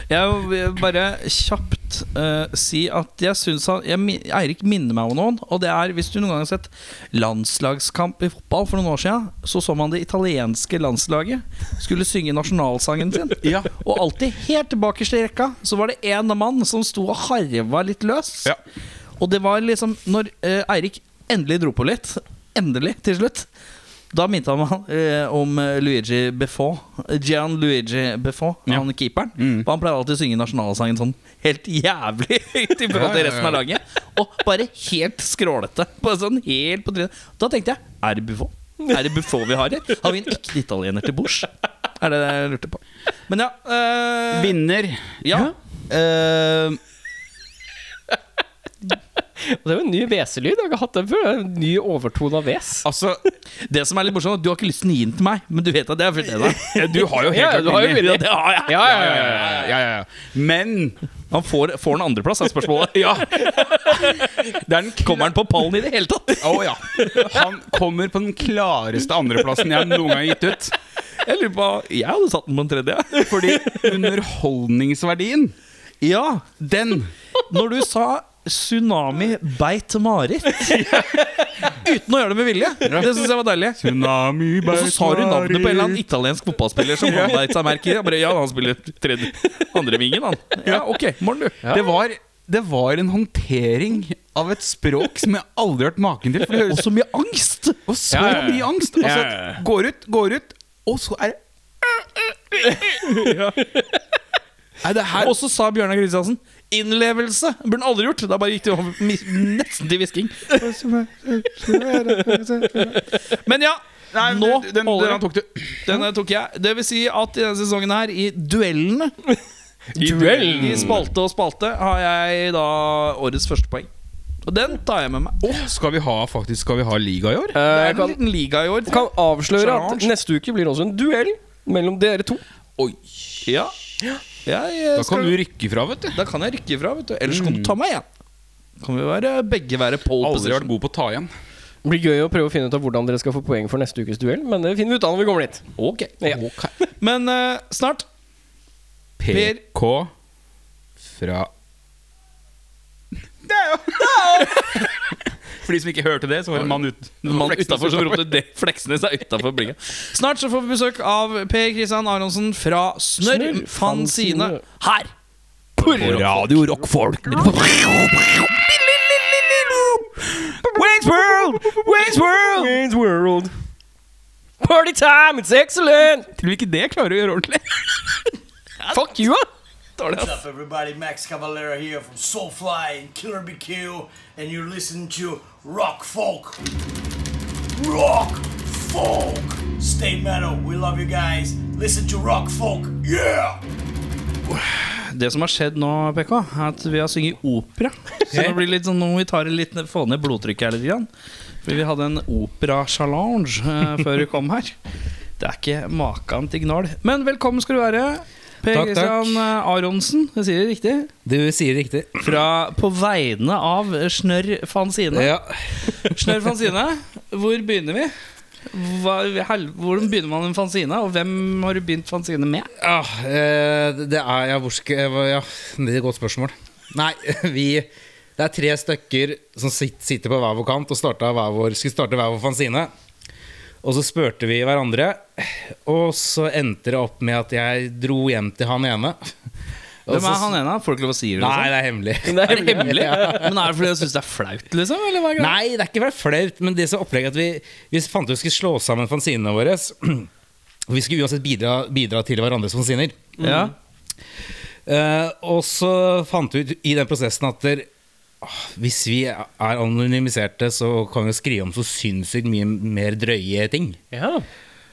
Jeg vil bare kjapt eh, si at jeg syns han jeg, min- Eirik minner meg om noen. Og det er hvis du noen gang har sett landslagskamp i fotball for noen år siden, så så man det italienske landslaget skulle synge nasjonalsangen sin. Og alltid helt bakerst i rekka så var det én mann som sto og harva litt løs. Ja. Og det var liksom Når eh, Eirik endelig dro på litt, endelig til slutt Da minte han meg eh, om eh, Luigi Buffon. Gian Luigi Buffon, han keeperen. Og han pleier alltid å synge nasjonalsangen sånn helt jævlig høyt i forhold til resten av laget. Og bare helt skrålete. Bare sånn helt på trynet. Da tenkte jeg er det Buffon? Er det Buffon vi har her? Har vi en ekte italiener til bords? Er det det jeg lurte på. Men ja. eh, Vinner. ja. Eh, Og det var en ny hveselyd. Jeg har ikke hatt den før. Det er En ny overtone av hves. Altså, det som er litt morsomt, du har ikke lyst til å gi den til meg, men du vet at jeg har fulgt deg. du har jo helt Ja, klart du har jo vinner. vunnet. Det har jeg. Ja, ja, ja, ja. ja, ja, ja, ja. Men Han får, får en andreplass, er spørsmålet. det er den kla- Kommer han på pallen i det hele tatt? Å ja. Han kommer på den klareste andreplassen jeg noen gang har gitt ut. Jeg lurer på Jeg hadde satt den på en tredje. Fordi underholdningsverdien, Ja, den når du sa Tsunami beit Marit uten å gjøre det med vilje. Det syns jeg var deilig. Tsunami Og så sa du navnet på en eller annen italiensk fotballspiller som han beit seg merke i. Jeg bare, Ja, han spiller tredje, andre vingen, han. Ja, ok, morgen, du. Det var, det var en håndtering av et språk som jeg aldri har hørt maken til. For det Og høres så mye angst! og så mye angst. Altså, går ut, går ut, og så er det Nei, det her Og så sa Bjørnar Kristiansen innlevelse. Burde han aldri gjort. Da bare gikk det over mi- nesten til hvisking. Men ja, Nei, nå du- den, den, holder han det. tok det. Denne tok jeg. Det vil si at i denne sesongen her, i duellene I Duellen! spalte og spalte har jeg da årets første poeng. Og den tar jeg med meg. Å, skal vi ha faktisk Skal vi ha liga i år? Eh, Det er jeg en kan, liten liga i år. kan avsløre at Challenge. neste uke blir også en duell mellom dere to. Ja. Jeg, eh, Da kan skal, du rykke fra, vet du. da kan jeg rykke ifra, vet du. Ellers kan du ta meg igjen. Kan vi være, begge være pole Aldri vært position. god på å ta igjen. Det blir gøy å prøve å finne ut av hvordan dere skal få poeng for neste ukes duell, men det finner vi ut av når vi kommer dit. Ok. Ja. Men eh, snart PK fra Det er jo For de som ikke hørte det, så var det en mann ut En mann utenfor som ropte det Fleksnes er utenfor blinga. Snart så får vi besøk av Per Kristian Aronsen fra Snørr Snørr Fanzine. Fanzine her. På Radio Rockfolk. Wayne's World! Wayne's World! Party time! It's excellent! Tror ikke det klarer å gjøre ordentlig. Fuck you, da! What's up, everybody? Max Cavalera here from Soulfly and Killer BQ, and you're listening to Rock Folk. Rock Folk! Stay metal, we love you guys. Listen to Rock Folk, yeah! Det som har skjedd nå, PK, er at vi har sunget opera. Så det blir litt sånn, nå må vi ta det litt ned, få ned blodtrykket her litt. Grann. Fordi vi hadde en opera-challenge eh, før du kom her. Det er ikke maken til gnål. Men velkommen skal du være, Per Takk, takk. Kristian eh, Aronsen. Jeg sier det riktig? Du sier riktig. Fra, på vegne av Snørr Fanzine. Ja. Snørr Fanzine, hvor begynner vi? Hva, hel, hvordan begynner man en fanzine, og hvem har du begynt fanzine med? Ja, eh, det er ja, hvor skal, jeg- ja, Det er et godt spørsmål. Nei, vi Det er tre stykker som sit- sitter på hver vår kant og starta hver vår, skulle starte hver vår fanzine. Og så spurte vi hverandre, og så endte det opp med at jeg dro hjem til han ene. Og Hvem så- er han ene? Får du ikke lov å si det? Altså Nei, det er hemmelig. Er det hemmelig? Men er det fordi du syns det er flaut, liksom? Eller hva er greia? Nei, det er ikke bare flaut, men det som opplegget at vi, vi fant ut vi skulle slå sammen fanzinene våre. Og vi skulle uansett bidra, bidra til hverandres fanziner. Ja. Eh, og så fant vi ut i den prosessen at der, ah, hvis vi er anonymiserte, så kan vi skrive om så sinnssykt mye mer drøye ting. Ja.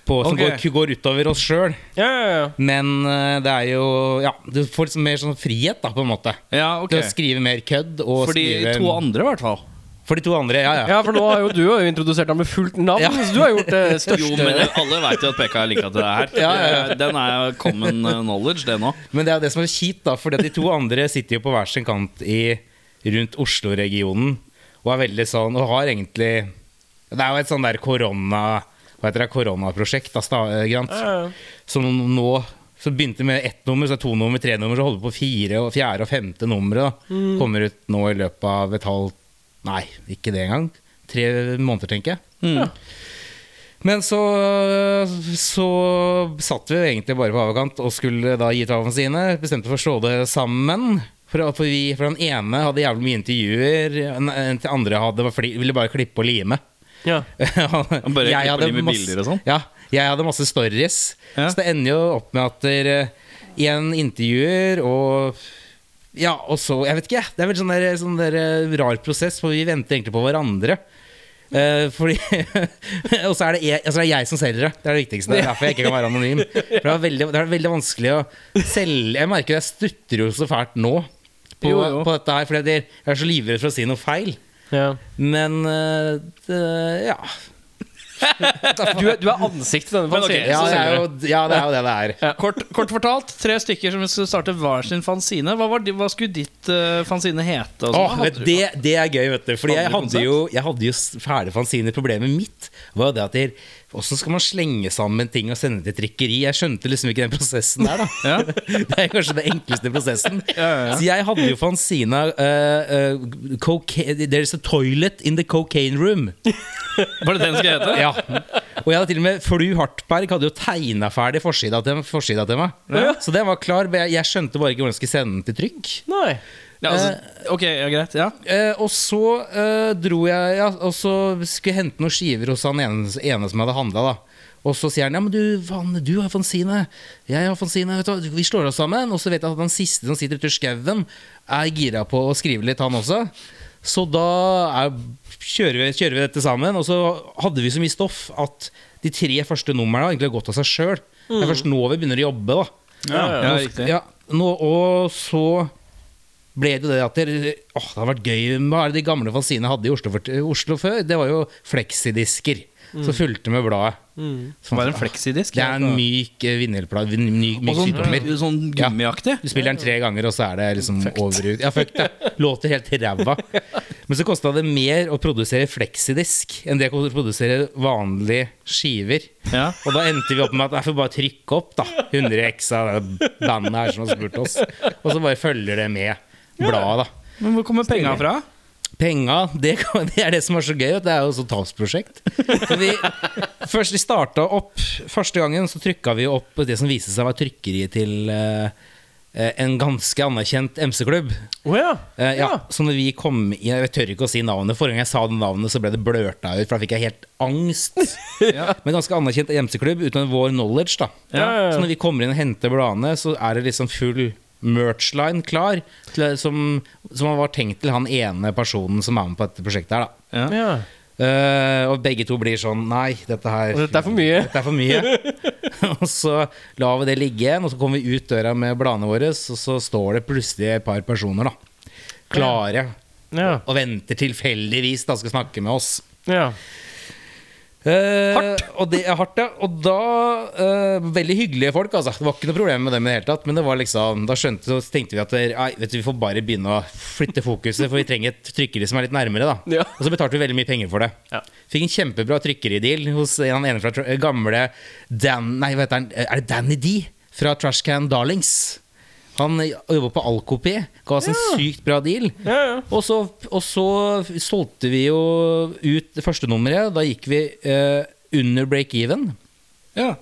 På, som Ok. går, går utover oss sjøl. Ja, ja, ja. Men eh, det er jo Ja, du får liksom mer sånn frihet, da, på en måte. ja, ok. Til å skrive mer kødd. Og For de skrive, to andre, i hvert fall. for de to andre. Ja, ja. Ja, for nå har jo du har jo introdusert ham med fullt navn. Ja. Så du har gjort eh, det største alle veit jo at PK er linka til det her. Den er common uh, knowledge, det nå. Men det er jo det som er kjipt, da. For de to andre sitter jo på hver sin kant i, rundt Oslo-regionen. Og er veldig sånn Og har egentlig Det er jo et sånn der korona Hva heter det? Koronaprosjekt, da. sta- eh, Grant. Som nå Så begynte med ett nummer, så er det to nummer, tre nummer, så holder det på fire og fjerde og femte nummeret. da Kommer ut nå i løpet av et halvt Nei, ikke det engang. Tre måneder, tenker jeg. Men så, så satt vi jo egentlig bare på avkant og skulle da gi travene sine. Bestemte for å slå det sammen. For, for, vi, for den ene hadde jævlig mye intervjuer, en- en til andre hadde, var fli, ville bare klippe og lime. Ja. Han bare klipper de med bilder og sånn? Ja, jeg hadde masse stories. Så det ender jo opp med at dere igjen intervjuer og Ja, og så Jeg vet ikke, jeg. Det er veldig sånn, der, sånn der eh, rar prosess, for vi venter egentlig på hverandre. Eh, fordi Og så er det jeg, altså det er jeg som selger det. Det er det viktigste. Det er derfor jeg ikke kan være anonym. For det er veldig, det er veldig vanskelig å selge Jeg merker jeg strutter jo så fælt nå på, Jo, jo. på dette her, fordi jeg er så livredd for å si noe feil. ja. Men eh, det, ja. Du, er, du er ansiktet til denne fanzinen. Ja, så det sier er du. jo, ja, det er jo det det er. Kort, kort fortalt, tre stykker som skulle starte hver sin fanzine. Hva, var, di- hva skulle ditt eh, fanzine hete? Og sånn? Åh, Hva vet, hadde du? det, det er gøy, vet du. Fordi jeg Hadde du hadde jo, jeg hadde jo s- fæle fanziner. Problemet mitt var jo det at der, Hvordan skal man slenge sammen ting og sende til trykkeri? Jeg skjønte liksom ikke den prosessen der, da. det er kanskje den enkleste prosessen. Så jeg hadde jo fanzina eh, eh, coca- There's a toilet in the cocaine room. Var det den skulle hete? Ja. Og jeg hadde til og med Flu Hartberg hadde jo tegna ferdig forsida til, forsida til meg. Så den var klar, men jeg, jeg skjønte bare ikke hvordan jeg skulle sende den til trykk. Nei. Ja, altså, ok, ja, greit. Ja. Eh, og så eh, dro jeg ja, Og så skulle jeg hente noen skiver hos han ene, ene som hadde handla. Og så sier han ja, men du, Vanne, du har fanzine. Jeg har fanzine. Vet du, hva, vi slår oss sammen. Og så vet jeg at han siste som sitter ute i skauen, er gira på å skrive litt, han også. Så da er, kjører, vi, kjører vi dette sammen. Og så hadde vi så mye stoff at de tre første numrene har egentlig gått av seg sjøl. Det er først nå vi begynner å jobbe. da Ja, riktig. ja, nå, og så ble det jo det at dere, åh, det har vært gøy. Hva er det de gamle fanzinene hadde i Oslo, for, Oslo før? Det var jo fleksidisker Mm. som fulgte med bladet. Sånn, Var det en fleksidisk? det er en myk eh, vinylplate. vin- Myk, myk Og sånn, sydommer. sånn gummiaktig? Du spiller den tre ganger, og så er det liksom over ut. Ja, fucked, ja. Låter helt ræva. Men så kosta det mer å produsere fleksidisk enn det å produsere vanlige skiver. Ja. Og da endte vi opp med at jeg får bare trykke opp, da. 100 X av det bandet her som har spurt oss. Og så bare følger det med bladet, da. Men hvor kommer penga fra? Penga, det, kan- det er det som er så gøy. at Det er jo så tapsprosjekt. Så vi, først vi starta opp Første gangen så trykka vi opp det som viste seg var trykkeriet til eh, eh, en ganske anerkjent MC-klubb. Å ja. Eh, ja, Så når vi kom inn Jeg tør ikke å si navnet. Forrige gang jeg sa det navnet, så ble det blørta ut, for da fikk jeg helt angst. Men ganske anerkjent MC-klubb uten vår knowledge, da. ja, ja. Så når vi kommer inn og henter bladene, så er det liksom full merch-line klar, til, som, som var tenkt til han ene personen som er med på dette prosjektet her, da. ja. Eh, og begge to blir sånn Nei, dette her Dette er for mye. Dette er for mye. og så lar vi det ligge igjen, og så kommer vi ut døra med bladene våre, og så står det plutselig et par personer, da. Klare. ja. Og venter tilfeldigvis, da, skal snakke med oss. ja. hardt. Eh, Og det er hardt, ja. Og da eh, Veldig hyggelige folk, altså. Det var ikke noe problem med dem i det hele tatt. Men det var liksom da skjønte så tenkte vi at det- nei, vet du, vi får bare begynne å flytte fokuset, for vi trenger et trykkeri som er litt nærmere, da. Ja. Og så betalte vi veldig mye penger for det. Ja. Fikk en kjempebra trykkerideal hos en ene fra tr- eh, gamle Dan Nei, hva heter han? Eh, Er det Danny D? Fra Trashcan Darlings. Han eh, jobba på Alcopé, ga oss en sykt bra deal. Ja, ja. Og så, og så solgte vi jo ut det første nummeret. Da gikk vi eh, under break-even. Ja.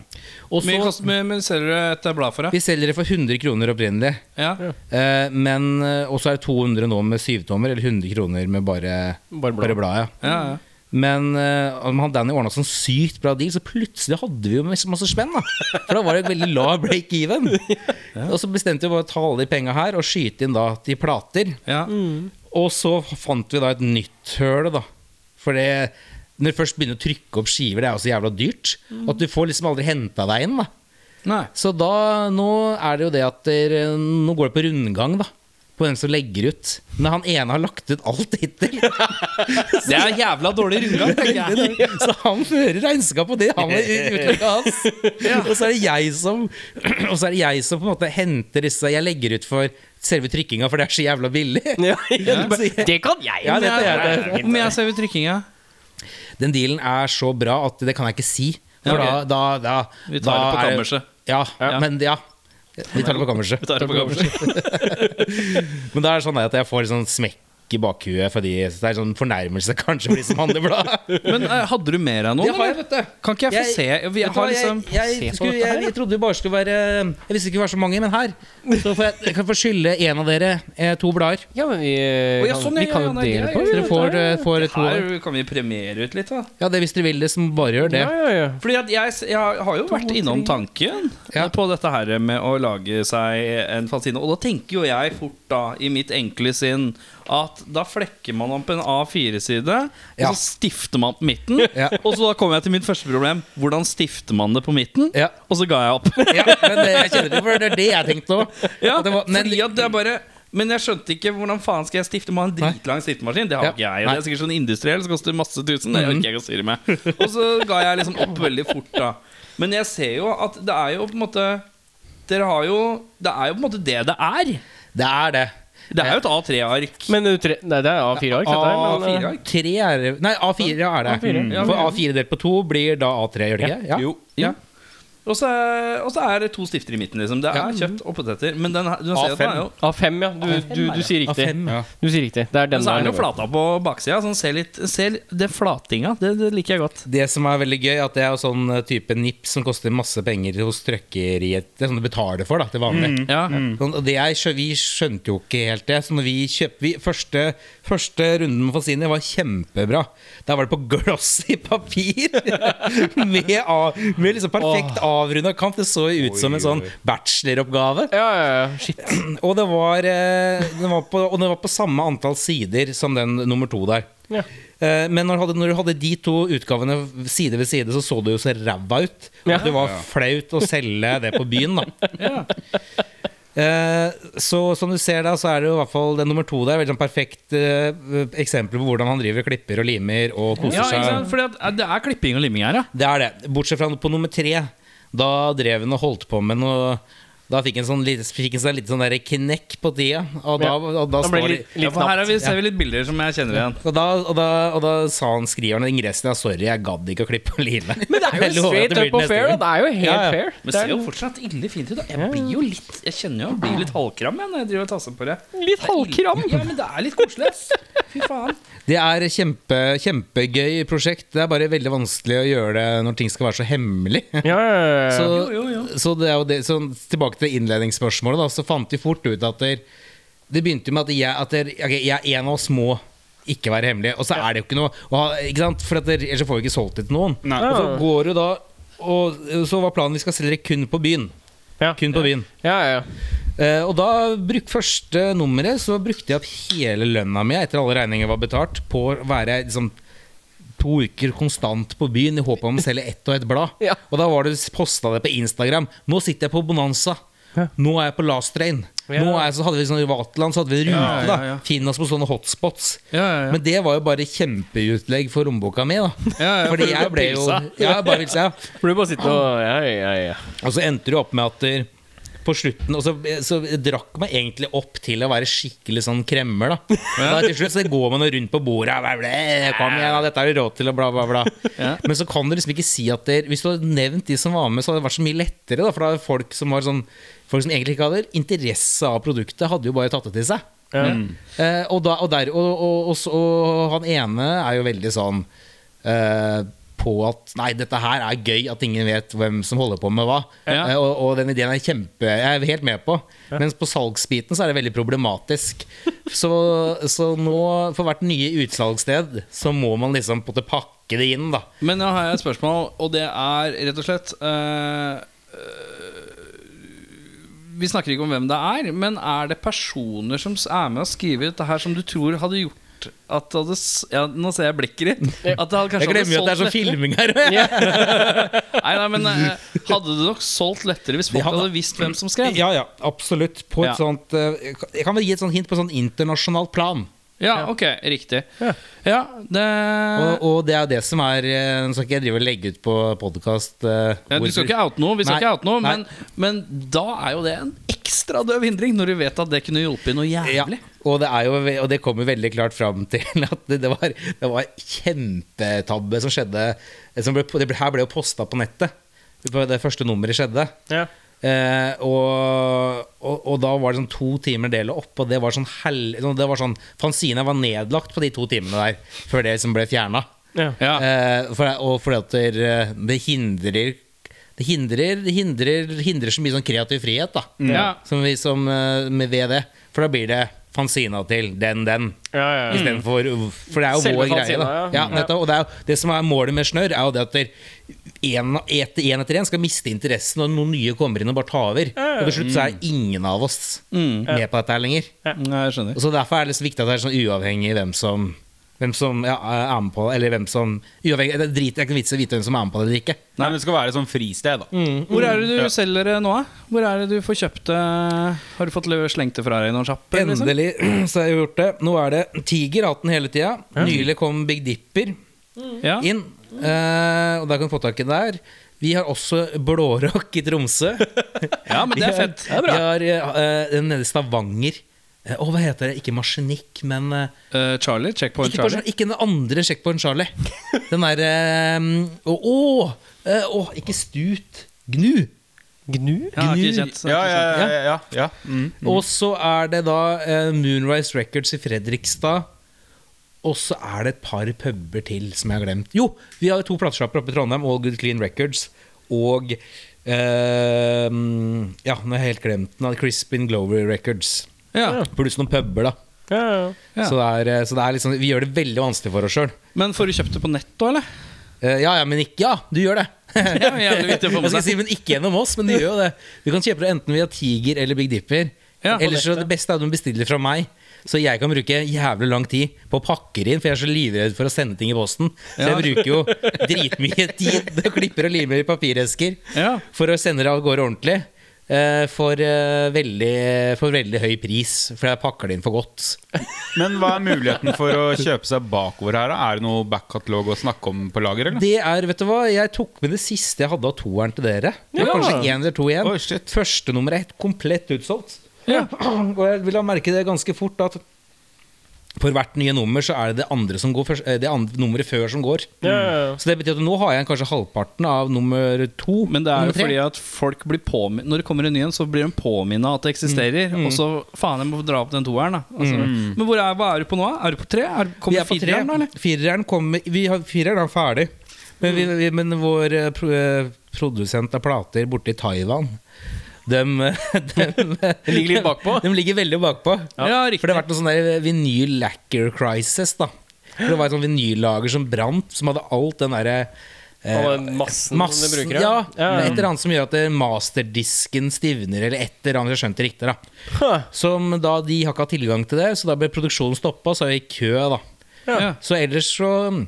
Og Mye så kost, men, men selger du et blad for deg? Vi selger det for 100 kroner opprinnelig. Ja. Eh, men eh, Og så er det 200 nå med syvtommer, eller 100 kroner med bare, Bare blad. bare bladet. ja. Ja, ja. Men eh, om han Danny ordna sånn sykt bra deal, så plutselig hadde vi jo masse, masse spenn. da For da var det veldig lav break-even. Og så bestemte vi bare å ta alle de penga her og skyte inn da til plater. ja. Mm. Og så fant vi da et nytt høl, da. For det når du først begynner å trykke opp skiver, det er jo så jævla dyrt. Mm. At du får liksom aldri henta deg inn, da. Nei. Så da, nå er det jo det at der, Nå går det på rundgang, da. På hvem som legger ut. Men han ene har lagt ut alt hittil. Det er jævla dårlig rundgang, tenker jeg. Så han fører regnskap på det han har utløpet hans. Og så er det jeg som Og så er det jeg som på en måte henter disse Jeg legger ut for selve trykkinga, for det er så jævla billig. Så jeg- Det kan jeg. Ja, det kan jeg, det. Hvor mye er selve trykkinga? Den dealen er så bra at det kan jeg ikke si. For Ja, da, da, da Vi tar da det på er kammerset. Ja, men ja. Vi tar det på kammerset. Vi tar det på kammerset. Men da er det sånn at jeg får sånn smekk blikk i bakhuet fordi jeg synes det er sånn fornærmelse kanskje for de som handler blad. Men eh, hadde du mer av noe? Jeg har, eller? vet du. Kan ikke jeg få Jeg- se? Vet Vi du hva, har jeg, liksom jeg, se på skulle, dette her, jeg, jeg trodde det bare skulle være eh, Jeg visste ikke det var så mange, men her. Så får jeg, jeg kan få skylde en av dere eh, to blader. Ja, men vi, eh, ja, kan- sånn, vi ja, kan ja, jo nei, dele det er på greit. det. Dere får, eh, får to. Her kan vi premiere ut litt, da. Ja, det hvis dere vil det, så bare gjør det. Ja, ja, ja. Fordi at jeg, s- jeg har jo vært innom tanken Ja. på dette her med å lage seg en fanzine. Og da tenker jo jeg fort, da, i mitt enkle sinn, at da flekker man opp en A4-side, og Ja. så stifter man på midten. Ja. Og så da kom jeg til mitt første problem. Hvordan stifter man det på midten? Ja. Og så ga jeg opp. Ja, men det, jeg kjenner det, for det er det jeg tenkte òg. Ja, det var, men, fordi at det er bare men jeg skjønte ikke hvordan faen skal jeg stifte meg en dritlang stiftemaskin. Det har Ja. ikke jeg. og Det er sikkert sånn industriell som koster masse tusen. Det orker jeg ikke å styre med. Og så ga jeg liksom opp veldig fort, da. Men jeg ser jo at det er jo på en måte Dere har jo Det er jo på en måte det det er. det er det. Det er jo et A3-ark. Men du tre, nei, det er A4-ark, dette her. men, eh, A4-ark? Tre er Nei, A4 er det. A4, Mm. For A4 delt på to blir da A3, gjør det ikke? Ja. Jo. Ja. Og så og så er det to stifter i midten, liksom. Det er kjøpt og poteter. Men den, her- du ser jo at den er jo A5, eh, ja. Du, du, du sier riktig. A5, ja. Du sier riktig. Det er den Men så er der. den jo flata på baksida. Sånn, ser litt, ser, det flatinga, det, det liker jeg godt. Det som er veldig gøy, at det er jo sånn eh, type nipp som koster masse penger hos trøkkeriet. Det er sånn du betaler for, da, til vanlig. Ja. Sånn, og det er, skjø- vi skjønte jo ikke helt det. Så når vi kjøp, vi, første, første runden med Fasini var kjempebra. Der var det på glossy papir! med, av, med liksom perfekt avrunda kant. Det så jo ut som en sånn bacheloroppgave. Ja, ja, ja. Shit. Og det var, eh, det var på, og det var på samme antall sider som den nummer to der. Ja. Eh, Men når du, hadde, når du hadde de to utgavene side ved side, så så det jo så ræva ut. Ja. At det var flaut å selge det på byen, da. Eh, Så som du ser da, så er det jo i hvert fall den nummer to der. Veldig sånn perfekt eh, eksempel på hvordan han driver og klipper og limer og koser Ja, ikke seg. sant? Fordi at, eh, det er klipping og limming her, ja. Det er det. Bortsett fra på nummer tre. Da drev han og holdt på med noe Da fikk han sånn, lite- fikk han seg litt sånn der knekk på tida. Og da, og da, Da står blir det det- litt, litt for her knapt. har vi, ser vi litt bilder som jeg kjenner igjen. og da, og, da, og da sa han skriveren i ingressen Ja, sorry, jeg gadd ikke å klippe og lime. Men det er Jeg jo lover at straight det blir up og neste fair. gang. da. Det er jo helt Ja, ja. fair. Men Det ser er jo fortsatt ille fint ut. da. Jeg blir jo litt Jeg kjenner jo jeg blir litt halvkram jeg, når jeg driver og tasser på det. litt halvkram. Ja, men det er litt koselig. ass. Fy faen. Det er kjempe, kjempegøy prosjekt. Det er bare veldig vanskelig å gjøre det når ting skal være så hemmelig. Ja, ja, ja, ja. Så, jo, jo. så, det er jo det, så tilbake til innledningsspørsmålet, da, så fant vi fort ut at der, det begynte med at jeg, at der, ok, jeg en av oss må ikke være hemmelig. Og så er det jo ikke noe å ha, ikke sant? For at der, ellers så får vi ikke solgt det til noen. Nei. Og så går det da og så var planen vi skal selge det kun på byen. Ja. Kun på byen. ja, ja. Eh, og da bruk første nummeret Så brukte jeg opp hele lønna mi etter alle regninger var betalt på å være liksom to uker konstant på byen i håp om å selge ett og ett blad. Ja. Og da var det posta det på Instagram. Nå sitter jeg på Bonanza. Nå er jeg på Last Train. Nå er jeg, så hadde vi sånn Vaterland, så hadde vi rute. da Finn oss på sånne hotspots. Men det var jo bare kjempeutlegg for lommeboka mi. da Fordi jeg ble jo ja, bare pilsa, ja. For du bare sitter og Ja, ja, ja. Og så endte det opp med at der, på slutten Og så, så drakk man egentlig opp til å være skikkelig sånn kremmer, da. Og da til slutt så går man jo rundt på bordet og bare, "Blæ, Kom igjen, da, dette er du råd til, og bla, bla, bla. Men så kan du liksom ikke si at der, Hvis du hadde nevnt de som var med, så hadde det vært så mye lettere, da. For da er folk som var sånn Folk som egentlig ikke hadde interesse av produktet, hadde jo bare tatt det til seg. Eh, og, da, og, der, og, og, og, så- og han ene er jo veldig sånn eh, på at Nei, dette her er gøy at ingen vet hvem som holder på med hva. Ja. Eh, og, og den ideen er kjempe Jeg er helt med på. Mens på salgsbiten så er det veldig problematisk. så, så nå, for hvert nye utsalgssted, så må man liksom på en måte pakke det inn, da. Men nå har jeg et spørsmål, og det er rett og slett eh, eh, Vi snakker ikke om hvem det er, men er det personer som s- er med og skriver dette her, som du tror hadde gjort at det hadde, s- ja, Nå ser jeg blikket ditt. At det hadde kanskje Jeg glemmer jo at det er hadde sånn filming her. og jeg- solgt- Nei, nei, men eh, Hadde det nok solgt lettere hvis folk hadde visst hvem som skrev? Ja, ja, absolutt. På et Ja. sånt eh, Jeg kan vel gi et sånt hint på sånn internasjonalt plan. Ja, ok, riktig. Ja, det Og, og det er jo det som er eh, Nå skal ikke jeg drive og legge ut på eh, podkast. ja, Du skal ikke oute noe, vi Nei, skal ikke oute noe nei. men, men da er jo det en ekstra døv hindring, når du vet at det kunne hjulpet noe ja, jævlig. og det, er jo, ve- og det kom jo veldig klart fram til at det, det, var, det var kjempetabbe som skjedde. Som ble, det ble, her ble jo posta på nettet. Det var Det første nummeret skjedde. ja. Eh, og, og, og da var det sånn to timer dele opp, og det var sånn, hel, sånn- det var sånn Fanzina var nedlagt på de to timene der, før det liksom ble fjerna. Ja. for, og fordi at det, eh, det hindrer det hindrer, det hindrer, hindrer så mye sånn kreativ frihet, da. Ja. Som vi som eh, med ved det. For da blir det fanzina til den, den. Ja, ja, ja. Istedenfor For det er jo Selve vår greie. fanzina, Da. ja. Ja, Mm. nettopp, og det, er jo, det som er målet med Snørr, er jo det at der en, et, en etter en skal miste interessen, og noen nye kommer inn og bare tar over. Og til slutt så er ingen av oss med på dette her lenger. Mm, Nei, jeg skjønner. Og så Derfor er det så viktig at det er sånn uavhengig hvem som hvem som ja, er med på Eller hvem som uavhengig, Det er drit, det er ikke noe vits i å vite hvem som er med på det eller ikke. Nei, men det skal være sånn fristed, da. Hvor er det du selger det nå, da? Hvor er det du får kjøpt det? Har du fått lø- slengt det fra deg i noen sjappe? liksom? Endelig så har jeg gjort det. Nå er det Tiger har hatt den hele tida. Nylig kom Big Dipper Ja. inn. eh, og der kan du få tak i den der. Vi har også Blårock i Tromsø. ja, men det er fett. Det er bra. Vi har eh, eh, nede i Stavanger. Eh, Å, hva heter det? Ikke Marsenikk, men eh, Eh, Charlie, checkpoint ikke, på, Charlie. ikke den andre Checkpoint Charlie. Den derre Å, å, eh, å, ikke Stut. Gnu. Gnu? Ja, ikke kjent. Ja, ja, ja, ja, ja, ja. Og så er det da eh, Moonrise Records i Fredrikstad. Og så er det et par puber til som jeg har glemt. Jo, vi har to platesjapper oppe i Trondheim, All Good Clean Records og eh, Ja, nå har jeg helt glemt den. Crispin Glory Records. Ja. Pluss noen puber, da. Ja, ja. Ja. Så, det er, eh, så det er liksom, vi gjør det veldig vanskelig for oss sjøl. Men får du kjøpt det på nett da, eller? Eh, ja, ja, men ikke Ja, du gjør det. Ja, jævlig viktig å få med jeg skal seg. si, men ikke gjennom oss, men du gjør jo det. Du kan kjøpe det enten via Tiger eller Big Dipper. Ja, på Ellers så nettet. det beste er at du bestiller fra meg, så jeg kan bruke jævlig lang tid på å pakke det inn, for jeg er så livredd for å sende ting i posten. Så jeg bruker jo dritmye tid og klipper og limer i papiresker Ja. for å sende det av gårde ordentlig. eh, For, eh, veldig, for veldig høy pris, for jeg pakker det inn for godt. Men hva er muligheten for å kjøpe seg bakover her, da? Er det noe backkatalog å snakke om på lager, eller? Det er, vet du hva, Jeg tok med det siste jeg hadde av toeren til dere. Det var Ja. Kanskje én eller to igjen. Oi, shit. Første nummer er helt komplett utsolgt. Og jeg vil ha merke det ganske fort at for hvert nye nummer så er det det andre som går først, eh, det andre nummeret før som går. ja, ja. Så det betyr at nå har jeg kanskje halvparten av nummer to. Men det er jo nummer tre. fordi at folk blir påmin når det kommer en ny en, så blir de påminna at det eksisterer. Mm. Og så faen, jeg må dra opp den toeren, da. Altså, Men hvor er, hva er du på nå? da? Er du på tre? Er, Vi kommer er på tre. fireren, da, eller? Fireren kommer vi har, Fireren er ferdig. Men, vi, vi, men vår eh, pro, eh, produsent av plater borte i Taiwan dem, dem, Den ligger litt bakpå. De ligger veldig bakpå. Ja, For det har vært noe sånn der vinyl lacquer crisis. da For Det var et sånn vinyllager som brant, som hadde alt den derre eh, Og den massen, massen- som de bruker. ja, ja. Et eller annet som gjør at eh, masterdisken stivner, eller et eller annet. Jeg skjønte riktig, da. Huh. Som da de har ikke hatt tilgang til det, så da ble produksjonen stoppa, og så er vi i kø, da. Ja. Så ellers så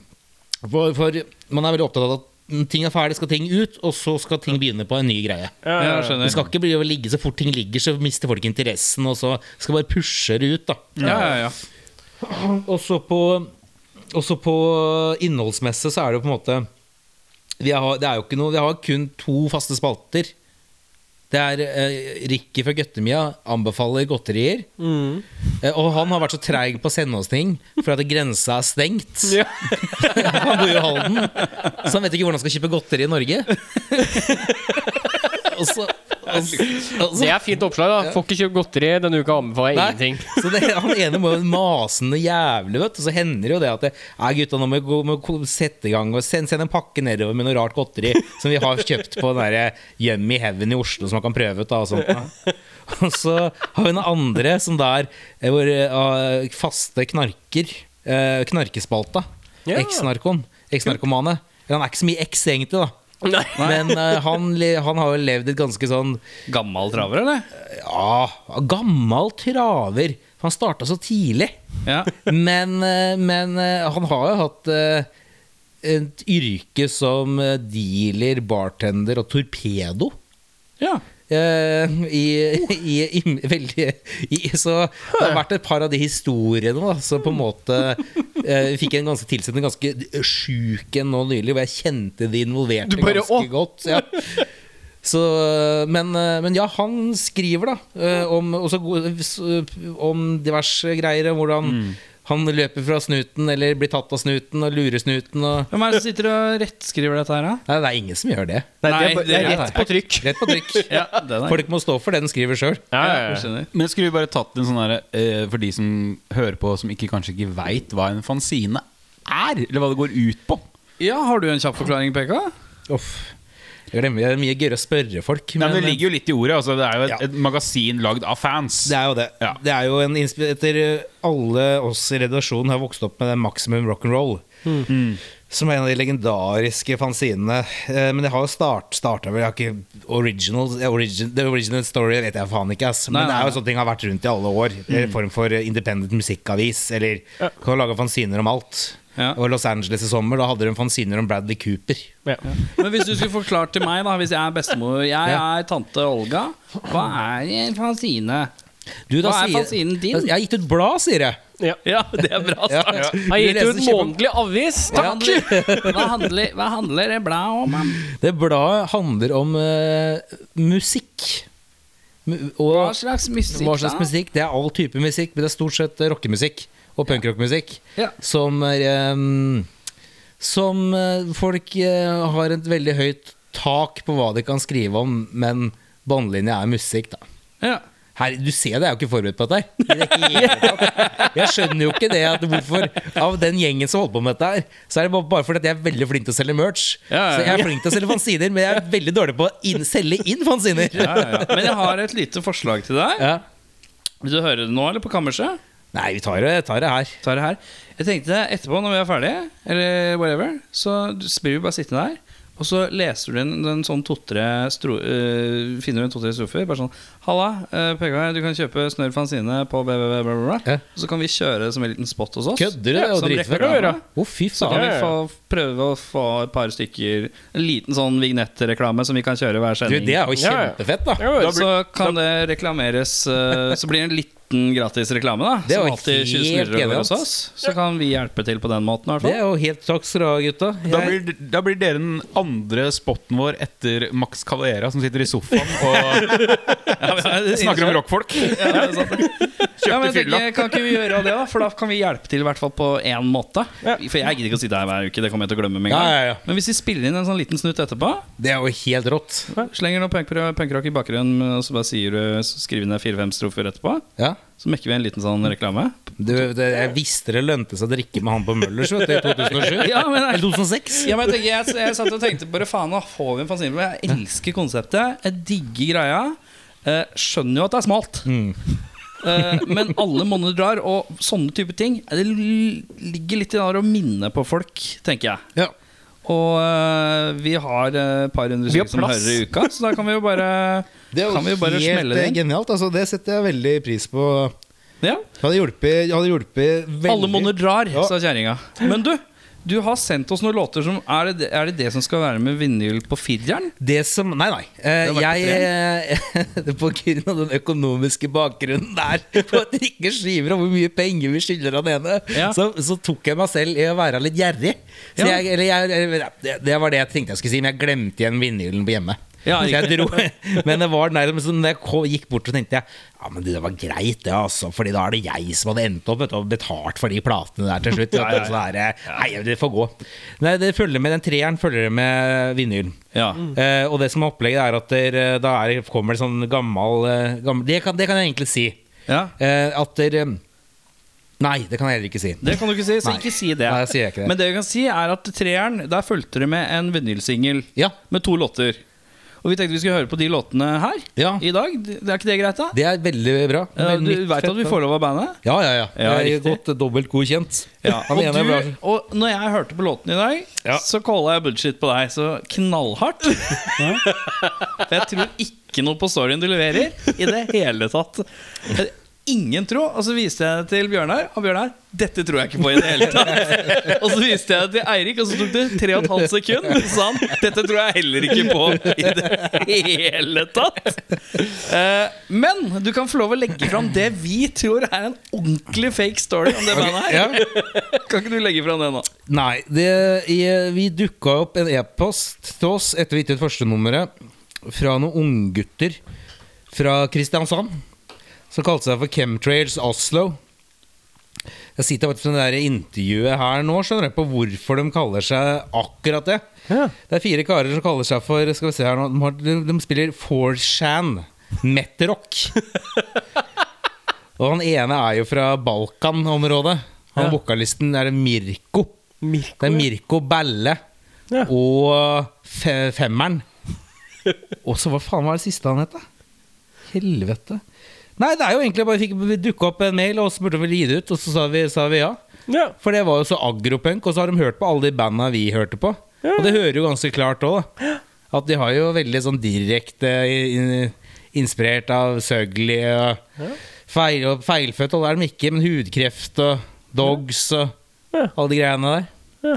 for, for man er veldig opptatt av at mm, ting er ferdig, skal ting ut, og så skal ting begynne på en ny greie. Ja, ja, Jeg ja. Det skjønner. skal ikke bli å ligge så fort ting ligger, så mister folk interessen, og så skal bare pushe det ut, da. Ja, ja, ja. Og så på, og så på innholdsmessig så er det jo på en måte vi har, det er jo ikke noe, vi har kun to faste spalter. Det er eh, Ricky fra Gøttemia anbefaler godterier. Eh, og han har vært så treig på å sende oss ting for at grensa er stengt. Ja. han bor jo i Halden, så han vet ikke hvordan han skal kjøpe godteri i Norge. og så, og, så- og så Det er fint oppslag. da Får ikke kjøpt godteri denne uka, anbefaler jeg Nei, ingenting. Så det, han ene må jo mase noe jævlig, vet du. Så hender det jo det at det, Nei, gutta, nå må vi gå- må vi sette i gang og send, send en pakke nedover med noe rart godteri som vi har kjøpt på den derre Yummy Heaven i Oslo som man kan prøve ut, da, og sånt. Da. Og så har vi noen andre som da er eh, vår eh, faste knarker. eh, knarkespalta. Ja. Eks-narkon. Eks-narkomane. Han er ikke så mye eks, egentlig, da. Nei. Men eh, han, le- han har jo levd et ganske sånn Gammel traver, eller? ja, gammel traver. For han starta så tidlig. Ja. Men, eh, men eh, han har jo hatt eh, et yrke som eh, dealer, bartender og torpedo. ja. Eh, I, i, i, veldig, i, så det har vært et par av de historiene da, som på en måte eh, fikk en ganske tilsett en ganske sjuk en nå nylig, hvor jeg kjente de Du involverte bare, ganske «Å!» godt. Ja. Så, men, eh, men ja, han Mm. skriver da eh, om, også, go- s- om diverse greier. om Hvordan Han løper fra snuten eller blir tatt av snuten og lurer snuten og Hvem er det som sitter og rettskriver dette her, da? Nei, det er ingen som gjør det. Nei, det er, Nei, bare- det nei, er nei. rett på trykk. Rett på trykk. den Folk må stå for det den skriver sjøl. Ja, ja, ja. skjønner. Men skulle vi bare tatt en sånn derre eh, For de som hører på, som ikke, kanskje ikke veit hva en fanzine er, eller hva det går ut på. Ja, har du en kjapp forklaring, PK? Det er mye- det er mye gøyere å spørre folk. Nei, men Det men- ligger jo litt i ordet. Altså, det er jo et, Ja. et magasin lagd av fans. Det er jo det. Ja. Det er jo en inspi- Etter eh, alle oss i redaksjonen har vokst opp med den Maximum Rock'n'Roll. Som er en av de legendariske fanzinene. Eh, Men det har jo start, starta vel Jeg har ikke original, origin, The original story vet jeg faen ikke, ass. Men det er jo sånne ting har vært rundt i alle år. En form for eh, independent musikkavis. Eller kan lage fanziner om alt. Ja. Og Los Angeles i sommer, da hadde de fanziner om Bradley Cooper. Men hvis du skulle forklart til meg, da hvis jeg er bestemor Jeg er tante Olga. Hva er en fanzine? eh, Du, da Hva er sier- Altså, fanzinen din? Jeg har gitt ut blad, sier jeg. Ja. det er bra Ja. Har Du gitt leser ut kjempe- månedlig avis. Hva Takk! handler, hva handler, hva handler det bladet om? em? Det bladet handler om eh, musikk. Mu- Hva Og slags musikk, hva slags musikk? Det er all type musikk, men det er stort sett eh, rockemusikk og punkrockmusikk Ja. som er, eh, Som eh, folk eh, har et veldig høyt tak på hva de kan skrive om, men båndlinja er musikk, da. da? Ja. Her, du ser det, jeg er jo ikke forberedt på dette. her I det hele tatt. Jeg skjønner jo ikke det at hvorfor av den gjengen som holder på med dette, her så er det bare- bare fordi at jeg er veldig flink til å selge merch. Ja, ja, Så jeg er flink til å selge fanziner, men jeg er veldig dårlig på å inn, selge inn fanziner. Ja, ja, ja. Men jeg har et lite forslag til deg. Ja. Vil du høre det nå, eller på kammerset? Nei, vi tar det, tar det her. Ta det her. Jeg tenkte etterpå, når vi er ferdige, eller whatever, så blir vi bare sittende der. Og så leser du inn en sånn to-tre stro- øh, Finner du en to-tre strofer. Bare sånn 'Halla, øh, PK, du kan kjøpe Snørr Fanzine på bla, Ja. Og så kan vi kjøre det som en liten spot hos oss. Kødder du? Det er jo som dritfett. reklame. Å, fy Så kan faen. vi få, prøve å få et par stykker En liten sånn vignettreklame som vi kan kjøre hver Du, sending. det er jo Ja, ja. kjempefett, da. Jo, så kan det reklameres eh, Så blir det en liten gratis reklame, da. Det er som jo alltid helt snurrer over genialt. hos oss. Så kan vi hjelpe til på den måten, i hvert Det fall. er jo helt Takk skal du ha, gutta. Da Jeg, blir, da blir dere den andre spotten vår etter Max Calera, som sitter i sofaen og snakker om rockfolk. Ja, men Kjøpte jeg fylla. tenker, kan ikke vi gjøre det, da? For da kan vi hjelpe til i hvert fall på én måte. For jeg gidder ikke å sitte her hver uke. Det kommer jeg til å glemme med en gang. Ja, ja, ja. Men hvis vi spiller inn en sånn liten snutt etterpå, det er jo helt rått. slenger noe punk- punkrock i bakgrunnen, og så bare sier du så skriver vi ned fire-fem strofer etterpå, Ja. så mekker vi en liten sånn reklame. Du, det, jeg visste det lønte seg å drikke med han på Møllers vet du, i 2007. Ja, men Eller 2006. Ja, men jeg, tenker, jeg, jeg satt og tenkte bare faen, nå får vi en fanzine. Men jeg elsker konseptet. Jeg digger greia. Eh, skjønner jo at det er smalt. Mm. Eh, men alle monner drar, og sånne type ting Det l- ligger litt i det der å minne på folk, tenker jeg. Ja. Og eh, vi har eh, et par hundre Vi har stykker som plass. hører i uka, så da kan vi jo bare Det er jo Kan vi jo bare helt smelle det eh, inn? genialt. Altså, det setter jeg veldig pris på. ja. Det hadde hjulpet, det hadde hjulpet veldig. Alle monner drar, Ja. sa kjerringa. Men du, du har sendt oss noen låter som Er det er det, det som skal være med vinyl på fireren? Det som Nei, nei. Eh, Det har vært jeg eh, På grunn av den økonomiske bakgrunnen der, på at det ikke skriver om hvor mye penger vi skylder han ene, Ja. så, så tok jeg meg selv i å være litt gjerrig. Så Ja. jeg, eller jeg, eller, det- det var det jeg tenkte jeg skulle si, men jeg glemte igjen vinylen på hjemme. Ja, så jeg dro, men det var nærmest som da jeg ko- gikk bort, så tenkte jeg Ja, men du, det var greit, det, altså. Fordi da er det jeg som hadde endt opp vet, du, og betalt for de platene der til slutt. vet du, Så det er, eh, nei, det får gå. Nei, det følger med den treeren følger det med vinylen. Ja. Eh, og det som er opplegget, er at der, eh, da er, kommer det sånn gammel, eh, gammel det, kan, det kan jeg egentlig si. ja. Eh, at der, eh, Nei, det kan jeg heller ikke si. Det kan du ikke si, så Nei. ikke si det. Nei, jeg sier ikke det. Men det vi kan si, er at treeren, der fulgte det med en vinylsingel Ja. med to låter. Og vi tenkte vi skulle høre på de låtene her Ja. i dag. Det er ikke det greit, da? Det er veldig bra. Eh, du Nytt veit fett, at vi da. får lov av bandet? Ja, ja, ja. Ja, jeg er riktig. godt eh, dobbelt godkjent. Han Og, ene er du, bra. og når jeg hørte på låten i dag, så calla jeg bullshit på deg så knallhardt. For jeg tror ikke noe på storyen du leverer i det hele tatt. Ingen tro. Og så viste jeg det til Bjørnar, og Bjørnar dette tror jeg ikke på i det hele tatt. Og så viste jeg det til Eirik, og så tok det tre og et halvt sekund. Så sa han dette tror jeg heller ikke på i det hele tatt. Eh, Men du kan få lov å legge fram det vi tror er en ordentlig fake story om det bandet her. Ja. Kan ikke du legge fram det nå? Nei, det, jeg, vi dukka opp en e-post til oss etter vi gitt ut første nummeret fra noen unggutter fra Kristiansand som kalte seg for Chemtrails Oslo. Jeg sitter faktisk med det der intervjuet her nå, skjønner du, på hvorfor de kaller seg akkurat det. Ja. Det er fire karer som kaller seg for Skal vi se her nå De, har, de, de spiller 4chan metrock. Og han ene er jo fra Balkan-området. Han vokalisten er det Mirko. Mirko, det er Mirko Balle Ja. og fe femmeren. Og så hva faen var det siste han het, da? Helvete. Nei, det er jo egentlig bare fikk dukka opp en mail, og så spurte vi om vi ville gi det ut, og så sa vi, sa vi ja. Ja. For det var jo så agropunk, og så har de hørt på alle de banda vi hørte på. Og det hører jo ganske klart òg, da. At de har jo veldig sånn direkte in- inspirert av Søgli og feil, og feilfødt, og det er de ikke, men hudkreft og dogs og alle de greiene der.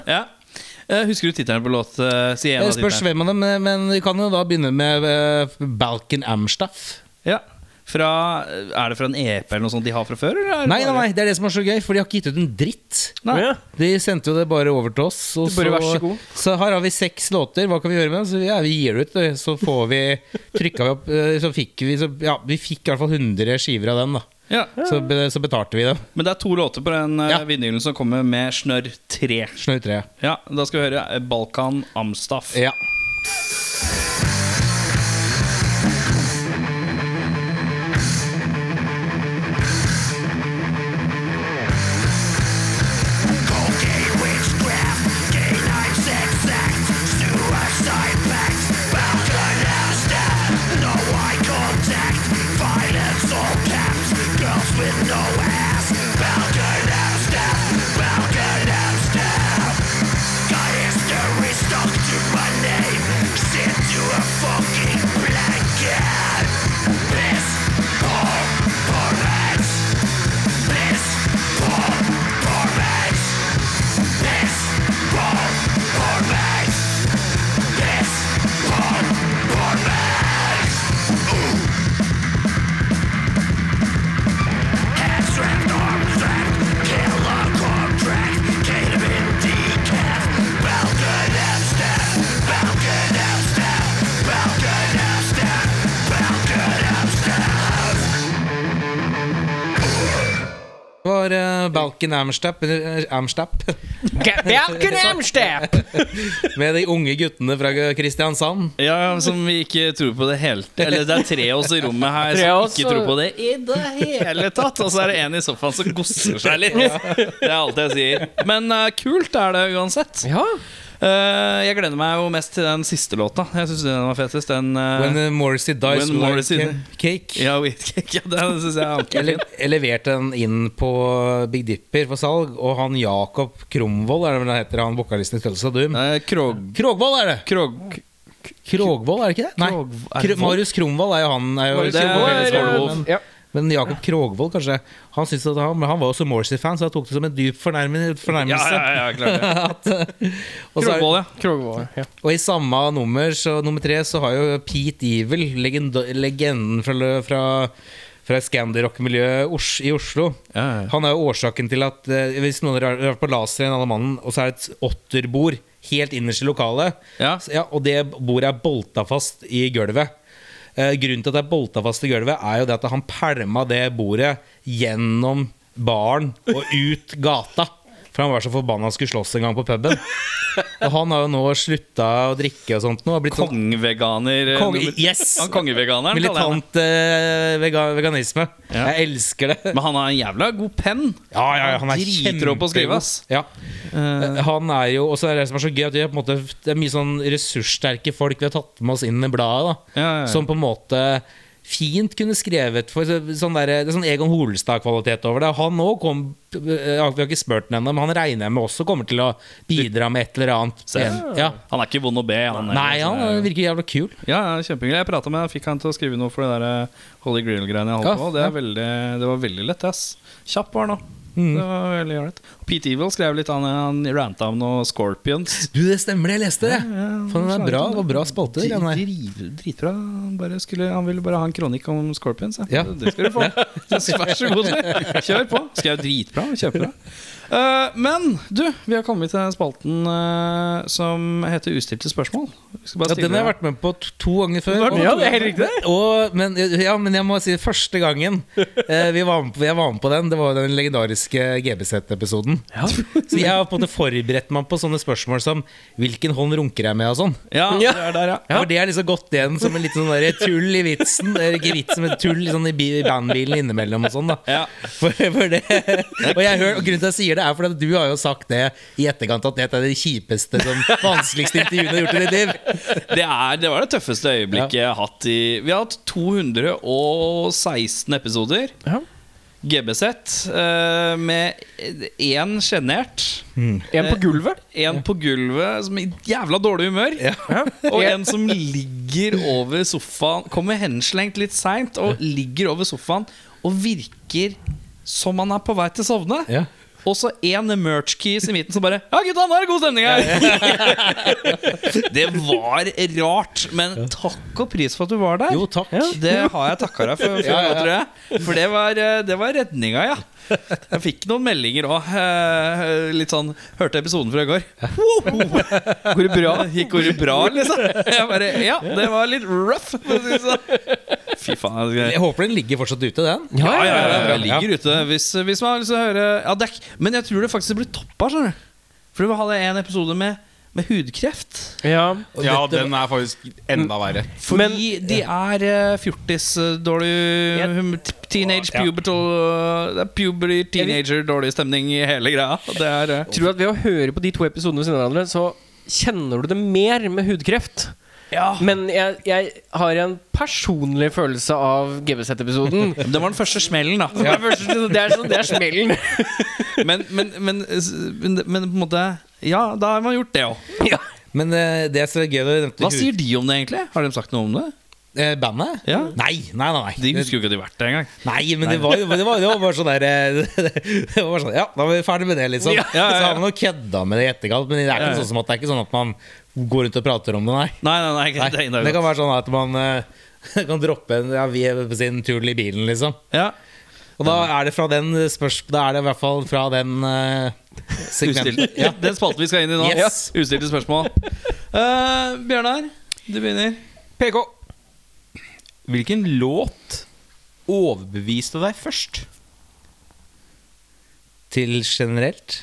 Ja. Eh, Husker du tittelen på låt? eh, Si en av Det spørs titlene. hvem av dem, men- men vi kan jo da begynne med eh, Balkan Amstaff. Ja. Fra, eh, er det fra en EP eller noe sånt de har fra før? Eller? er det Nei, nei, bare- nei, det er det som er så gøy, for de har ikke gitt ut en dritt. Å, ja. De sendte jo det bare over til oss. Og Det bare vær så god. så her har vi seks låter. Hva kan vi gjøre med det? Så ja, vi gir det ut, det, så får vi trykka vi opp eh, Så fikk vi så, Ja, vi fikk i hvert fall 100 skiver av den, da. Ja. Så, be- så betalte vi dem. Men det er to låter på den eh, Ja. vinylen som kommer med Snørr 3. Snøy tre. Ja, da skal vi høre eh, Balkan Amstaff. Ja. Det var eh, Balkan Amstap, eh, Amstap Balkanemstep! med de unge guttene fra Kristiansand. Ja, som vi ikke tror på det hele Eller det er tre av oss i rommet her Tre av oss, eh, som ikke tror på det i det hele tatt. Og så er det en i sofaen som gosser seg litt. Det er alt jeg sier. Men eh, kult er det uansett. Ja. Eh, jeg gleder meg jo mest til den siste låta. Jeg syns den var fetest. Den eh, When eh, Morrissey dies When with a Morrissey- ca- cake. Ja, Wheatcake. Ja, den syns jeg er Jeg, ordentlig le- jeg leverte den inn på Big Dipper for salg, og han Jakob Kromvold, er det vel han heter, han vokalisten i Tølsa Doom? fin. Krog... Krogvold er det! Krog... Krogvold, er det ikke det? Nei. Krog- er Kro det Vold? Marius Kromvold er jo han er jo Marius Kromvold er Skålevål. men, Ja. men Jakob Krogvold, kanskje. Han syntes at han, men han var jo så Morrissey-fan, så jeg tok det som en dyp fornærmelse. Ja, fornærmelse. ja, ja, ja, klart det. At, eh, og, så er- Krogvold, ja. Krogvold. Ja. og i samme nummer, så nummer tre, så har jo Pete Evil, legend, legenden fra, lø- fra, fra scandirock-miljøet Os- i Oslo Ja, ja. Han er jo årsaken til at eh, hvis noen har vært på laser en annen mannen, og så er det et åtterbord helt innerst i lokalet, Ja. Så, ja, og det bordet er bolta fast i gulvet. Eh, grunnen til at det er bolta fast i gulvet, er jo det at han pælma det bordet gjennom baren og ut gata. For han var så forbanna han skulle slåss en gang på puben. Og han har jo nå slutta å drikke og sånt nå. Og blitt sånn Kongeveganer. eh, Kong, nummer- yes! Han kongeveganeren. kaller jeg han. Militant eh, vega, veganisme. Jeg elsker det. Men han har en jævla god penn. Ja, ja, ja, han er Dritrå på å skrive, ass. kjempegod. Ja. Eh, han er jo Og så er det som er så gøy, at vi er på en måte, det er mye sånn ressurssterke folk vi har tatt med oss inn i bladet, da. Ja, ja, ja. Som på en måte fint kunne skrevet for så- sånn der, Det er sånn Egon Holstad-kvalitet over det. Han òg kom eh, Vi har ikke spurt den ennå, men han regner jeg med også kommer til å bidra med et eller annet. Ja. Han er ikke vond å be. Han eh, er, Nei, han virker jævla kul. Ja, ja, kjempehyggelig. Jeg prata med han, fikk han til å skrive noe for det der eh, Holy Grill-greiene jeg holdt Ja, på. Det, er ja. Mm. veldig, det var veldig lett, ass. Kjapp var han òg. Det var veldig ålreit. Pete Evil skrev litt, han, han ranta om noe Scorpions. Du, det stemmer, det. Jeg leste det. Faen, det er bra, det var bra spalte. det greiene der. Driv, dritbra. Han, bare skulle, han ville bare ha en kronikk om Scorpions. Ja. Ja. Det skal du få. Så Vær så god. Kjør på. Skrev dritbra. Kjøper det. Eh, men du, vi har kommet til den spalten eh, som heter Ustilte spørsmål. Vi skal bare Ja, stille- den har jeg vært med på t- to ganger før. vært med på, og- ja, det er helt riktig. Og, men, eh, ja, men jeg må si første gangen eh, vi var med på, jeg var med på den, det var den legendariske GBZ-episoden. Så jeg har på en måte forberedt meg på sånne spørsmål som hvilken hånd runker jeg med og sånn. Ja, det er der, ja. For det er liksom gått igjen som en liten sånn der tull i vitsen. Eller ikke vitsen, men tull i sånn i bi- bandbilen innimellom og sånn, da. Ja. For, for det. Og, jeg hører, og grunnen til at jeg sier det, er fordi at du har jo sagt det i etterkant at dette er det kjipeste, som vanskeligste intervjuet du har gjort i ditt liv. Det, er, det var det tøffeste øyeblikket jeg har hatt i Vi har hatt 216 episoder. Ja. GBZ eh, med én sjenert. Mm. Eh, En på gulvet. En på gulvet som i jævla dårlig humør. Og en som ligger over sofaen Kommer henslengt litt seint og ligger over sofaen og virker som han er på vei til å sovne. Ja. Og så én merch-keys i midten som bare Ja, gutta, nå er det god stemning her! det var rart, men takk og pris for at du var der. Jo, takk. Det har jeg takka deg for, for, Ja, ja, ja. nå, tror jeg. for det var, eh, det var redninga, ja. Jeg fikk noen meldinger òg. Litt sånn Hørte episoden fra i går. Wow! Går det bra? Gikk går det bra, liksom? Jeg bare, ja, det var litt rough. for å si det sånn. Fy faen. jeg- Jeg håper den ligger fortsatt ute, den. Ja, ja, ja, ja, jeg ja. ligger ute hvis, hvis man har lyst til å høre ja, det er, ikke- Men jeg tror det faktisk blir toppa, skjønner du. For vi hadde en episode med, med hudkreft. Ja. Ja, den er faktisk enda verre. Fordi de er eh, fjortis, eh, dårlig hum- t- Teenage pubertal eh, Det er puberty, teenager, dårlig stemning i hele greia. Det er eh, Tror du at ved å høre på de to episodene ved siden av hverandre, så kjenner du det mer med hudkreft? ja. Men jeg, jeg har en personlig følelse av GBZ-episoden. Det var den første smellen, da. Det er første- Det er, sånn- det er smellen. Men, men, men, s- men, men på en måte Ja, da har man gjort det òg. Men eh, det som er gøy når du nevnte Hva sier de om det, egentlig? Har de sagt noe om det? Eh, bandet? Ja. Nei, nei, nei. nei. De husker jo ikke at de har vært der engang. Nei, men det var jo det var, det var bare sånn der eh, Det var bare sånn, Ja, da var vi ferdig med det, liksom. Ja, ja, ja. Så har man jo kødda med det i etterkant, men det er ikke, Sånn som at, det er ikke sånn at man går rundt og prater om det, nei. Nei, nei, nei, nei. det er Det inndaget. kan være sånn at man eh, kan droppe en ja, vi er på sin tur i bilen, liksom. Ja. Og da er det fra den spørs... Da er det i hvert fall fra den eh, segmenten. Ustilte. Ja. Den spalten vi skal inn i nå. Yes. Ustilte spørsmål. Eh, Bjørnar, du begynner. PK. Hvilken låt overbeviste deg først? Til generelt.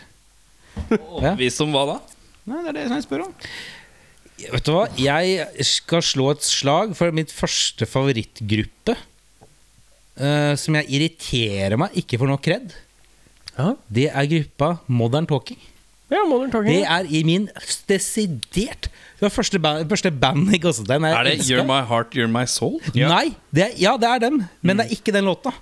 Ja. Vi som hva da? Nei, Det er det jeg spør om. Vet du hva, jeg skal slå et slag for mitt første favorittgruppe. eh, som jeg irriterer meg ikke får nok kred. Ja. Det er gruppa Modern Talking. Ja, Modern Det Talking. er i min desidert Det var første band, første band i Gåsetegn. jeg Er det elsker. You're My Heart, You're My Soul? Nei, det er, ja det er dem, men det er ikke den låta.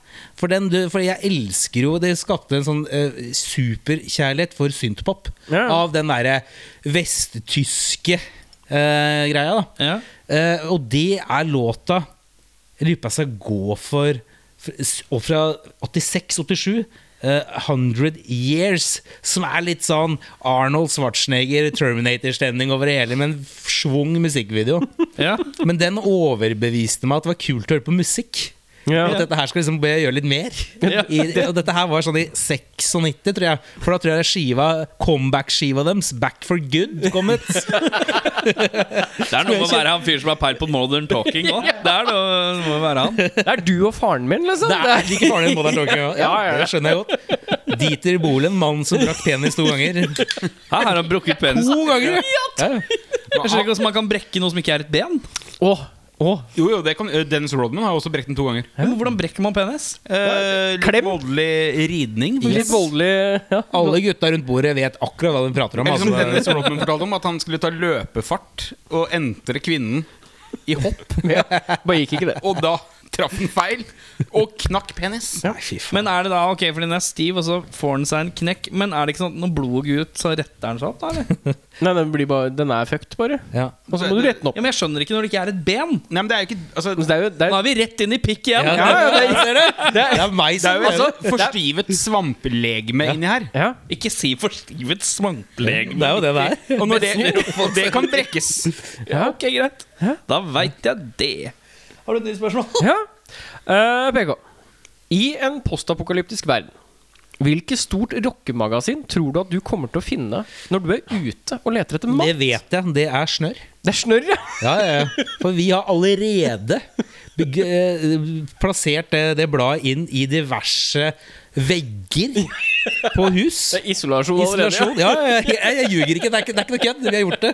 For, den, du- for jeg elsker jo Det skapte en sånn eh, superkjærlighet for synthpop. Ja. Av den derre vesttyske eh, greia, da. Ja. Eh, og det er låta Jeg lurer på om jeg skal gå for, for Og fra 86-87 eh, 100 Years, som er litt sånn Arnold Schwarzenegger, Terminator-stemning over det hele, med en schwung musikkvideo. Ja. Men den overbeviste meg at det var kult å høre på musikk. Ja. At dette her skal liksom be jeg gjøre litt mer. I, og dette her var sånn i 96, tror jeg. For da tror jeg skiva comeback-skiva deres, Back for Good, kom ut. Det er noe med å være han fyren som er per på Modern Talking òg. Det er noe noe med å være han. Det er du og faren min, liksom. Det er like farlig enn Modern Talking. Ja, Ja, ja, ja. Det skjønner jeg godt. Dieter Bohlen, mannen som brakk penis to ganger. Her har han brukket penis. To ganger! Jeg skjønner ikke hvordan man kan brekke noe som ikke er et ben. Åh, åh. Jo, jo, det kan, ø, Dennis Rodman har også brekt den to ganger. Men Hvordan brekker man penis? Eh, Klem. litt voldelig ridning. for Litt eksempel. voldelig ja. Alle gutta rundt bordet vet akkurat hva de prater om. Eller som Altså. Dennis Rodman fortalte om, at han skulle ta løpefart og entre kvinnen i hopp. Bare gikk ikke det. Og da traff han feil og knakk penis. Nei, fy faen. Men er det da ok, fordi den er stiv, og så får den seg en knekk. Men er det ikke sånn at når blodet går ut, så retter den seg opp, da? eller? Nei, den, blir bare, den er fucked, bare. Ja. Og så må du rette den opp. Ja, men jeg skjønner ikke når det ikke er et ben. Nei, men det er jo ikke altså, Så det er jo det Da er, er vi rett inn i pikk igjen. Ja, det, ser du? det er meg Det er som jo altså forstivet svampelegeme inni her. ja. Ikke si forstivet svamplegeme. Det er jo det det er. Og når det, og det kan brekkes. Ja, ok, greit. Da veit jeg det. Har du et nytt spørsmål? ja. Eh, PK. I en postapokalyptisk verden Hvilket stort rockemagasin tror du at du kommer til å finne når du er ute og leter etter mat? Det vet jeg. Det er snørr. Det er snørr, ja! Ja, ja, ja. For vi har allerede bygg, eh, plassert eh, det, det bladet inn i diverse vegger på hus. Det er isolasjon allerede. Isolasjon. Ja, ja, ja, jeg, jeg ljuger ikke. Det er ikke, det er ikke noe kødd. Vi har gjort det.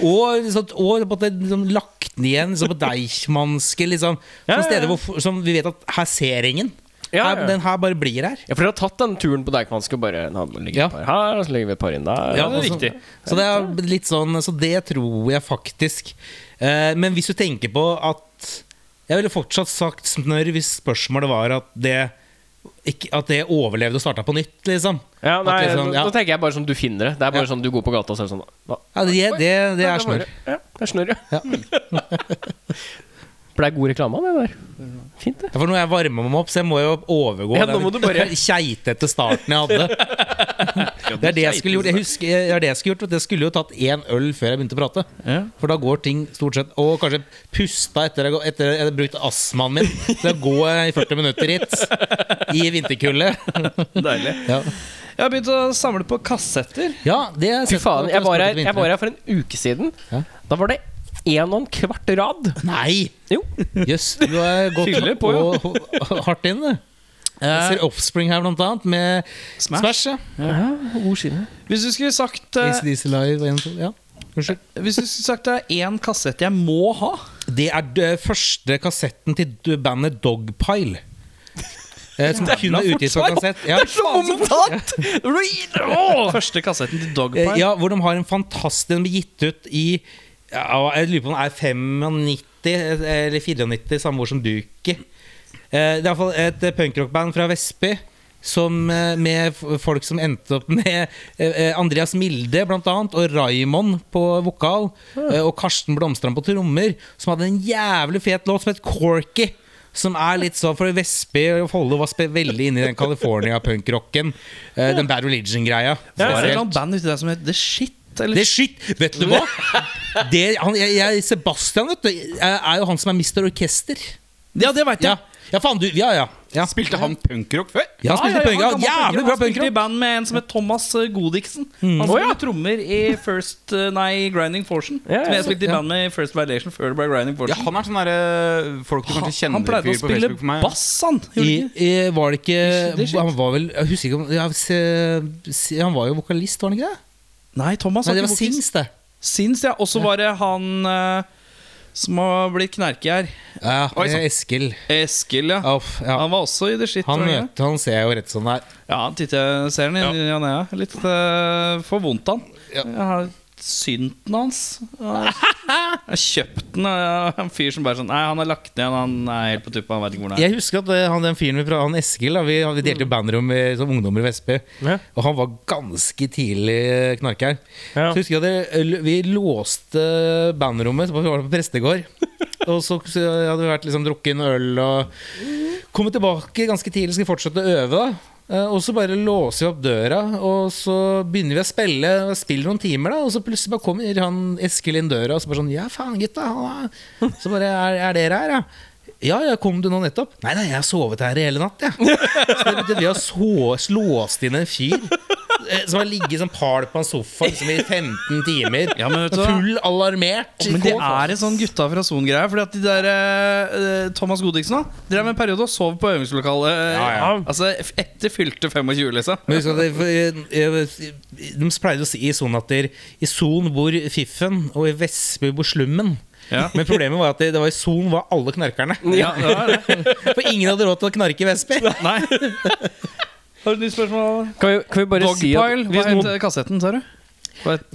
Og, sånn, liksom, og på en måte liksom, lagt ned igjen liksom, på Deichmanske, liksom. ja, Som ja. steder hvor, som vi vet at her ser ingen. Ja, Her, ja. den her bare blir her. Ja, for dere har tatt den turen på Deichmanske og bare nå, legger vi Ja. et par her, og så legger vi et par inn der. Ja, og det er så- riktig. Så det er litt sånn Så det tror jeg faktisk. Eh, men hvis du tenker på at Jeg ville fortsatt sagt snørr hvis spørsmålet var at det ikke, At det overlevde og starta på nytt, liksom. Ja, At nei, liksom, Da, ja. da tenker jeg bare sånn du finner det. Det er bare sånn du går på gata og ser sånn hva? Ja, det, det, det Nei, er var snørr. det. Ja, det er snørr, ja. Blei god reklame av det der. Fint, det. Ja, for nå har jeg varma meg opp, så jeg må jo overgå Ja, nå må den du bare- keitete starten jeg hadde. Det er det jeg skulle gjort. Jeg husker, det er det jeg skulle gjort. vet du. Jeg skulle jo tatt én øl før jeg begynte å prate. For da går ting stort sett Og kanskje pusta etter jeg, går- etter jeg hadde brukt astmaen min. Så jeg går jeg i 40 minutter hit i vinterkulde. Deilig. Ja. Jeg har begynt å samle på kassetter. ja, det har jeg Fy sett på faen, jeg var, Transport her, etter jeg vinteren. var her for en uke siden. Ja. Da var det en og en kvart rad. Nei! Jo. Jøss, du har gått på, og, og, hardt inn, du. Jeg ser Offspring her, blant annet, med Smash. ja. God skinne. Hvis du skulle sagt eh, ACDC Live 1, 2, ja. Unnskyld. Hvis du skulle sagt det er én kassett jeg må ha Det er d- første kassetten til d- bandet Dogpile. Eh, som kun er utgitt på kassett. Ja. Omtatt! Første kassetten til Eh, Dogpile. ja, hvor de har en fantastisk Den ble gitt ut i ja, Jeg lurer på om den er 95 eller 94, samme år som Duki. Eh, det er iallfall et eh, punkrockband fra Vestby. Som, eh, med f- folk som endte opp med eh, eh, Andreas Milde blant annet, og Raymond på vokal. eh, Og Karsten Blomstrand på trommer, som hadde en jævlig fet låt som het Corky. Som er litt sånn, for Vestby og Follo var spe- veldig inne i den California-punkrocken. eh, Den Bad Religion-greia. Det var et spesielt. eller annet band uti der som het The Shit. Eller Det er shit! Vet du hva? Det, han, jeg, jeg, Sebastian vet du, er er jo han som er mister orkester. Ja, det veit jeg. Ja, ja faen du Ja, ja. ja. Spilte han punkrock før? Ja, han spilte punker. han gammel Jævlig bra Mm. punker. Han spilte i punker. band med en som het Thomas eh, Godiksen. Han spilte trommer i First eh, Nei, Grinding Fortune. Ja, ja, som jeg ja. spilte i band med i First Violation før det ble Grinding Ja, Fortune. han er sånn derre folk du Han- kanskje kjenner han pleide å fyr på spille Facebook for meg. bass, han. gjorde I, han ikke? i, var det Det er ikke shit. Han var vel Jeg husker ikke om ja, se, se, Han var jo vokalist, var han ikke det? Nei, Thomas Nei, har det ikke var vokalist. Sings, det. Sins, ja. Og så var det han eh, som har blitt knerkejær. Ja, Oi, sant. Eh, Eskil. Eskil, ja. Uff, ja. Han var også i det shit. Han var det ikke? møter han ser jeg jo rett sånn som det er. Ja, han titter, ser den i ja. nea. Litt eh, for vondt, han. Ja. Jeg har synten hans. Jeg har kjøpt den av en fyr som bare sånn Nei, han har lagt ned, han er helt på tuppa, han veit ikke hvor den er. Jeg husker at eh, han, den fyren vi pra- han Eskil da, Vi, vi delte jo bandrom med som ungdommer i Vestby. Mm. Ja. Og han var ganske tidlig eh, knarker. Ja. Så husker jeg at det- l- vi låste bandrommet så vi var på prestegård. og så, så hadde vi vært liksom drukket en øl og kommet tilbake ganske tidlig. Skal fortsette å øve. da Eh, og så bare låser vi opp døra, og så begynner vi å spille. og Spiller noen timer, da og så plutselig bare kommer han Eskil inn døra og så bare sånn Ja, faen, gutta. han er-" Så bare Er, er dere her, ja? Ja, ja, kom du nå nettopp? Nei, nei, jeg har sovet her i hele natt, jeg. Så det betyr at vi har så, slåst inn en fyr eh, som har ligget som pal på en sofa liksom, i 15 timer. Ja, men vet du hva? Full alarmert. Men det Kåt. er en sånn gutta fra Son-greie. Fordi at de der eh, eh, Thomas Godiksen da drev en periode og sov på øvingslokalet. eh, ja. Altså f- etter fylte 25, liksom. Men husk at det, eh, eh, de pleide å si i Son at der, i Son bor Fiffen, og i Vestby bor Slummen. Ja. Men problemet var at det, det var i Son var alle knarkerne. Ja, det var det. For ingen hadde råd til å knarke i Vestby. Nei. Har du et nytt spørsmål? Kan vi, kan vi bare si at Dogpile? Hva hvis noen- het kassetten, sa du?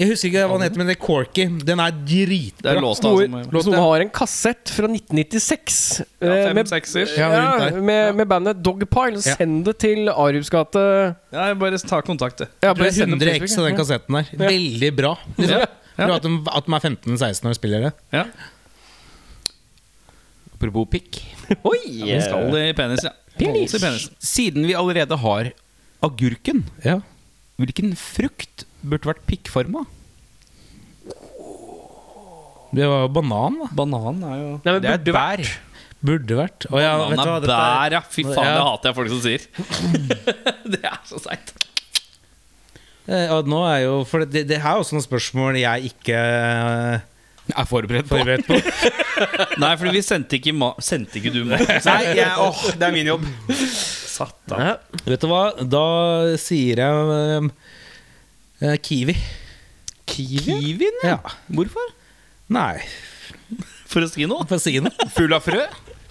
Jeg husker ikke hva den heter, men det er Corky. Den er Det dritbra. er låst, Noe- altså. Hvis noen har en kassett fra 1996 eh, Fem, med, sekser. Ja, rundt ja, der. med, med bandet Dogpile, Ja. send det til Arius gate Ja, bare ta kontakt, du. ja, Det bare er send det 100 X på Facebook, av ja. den kassetten der. Veldig bra. Liksom. Bra at de, at de er 15-16 når de spiller det. Ja. Apropos pikk. Oi! Den skal i penis, ja. Penis. Holdes i penis. Siden vi allerede har agurken, Ja. hvilken frukt burde vært pikkforma? Det var jo banan, da. Banan er jo Nei, men Det er burde et bær. Burde vært. Å ja, vet du hva, Banana dette er bær, ja. Fy faen, Ja. det hater jeg folk som sier. det er så seigt. Eh, Og nå er jo For det, det her er også noen spørsmål jeg ikke eh, Er forberedt på. forberedt på. Nei, for vi sendte ikke ma Sendte ikke du mat? Nei, jeg, åh, det er min jobb. Vet du hva, da sier jeg eh, eh, Kiwi. Kiwien? Ja. Hvorfor? Nei, For å si noe? for å si noe. Full av frø.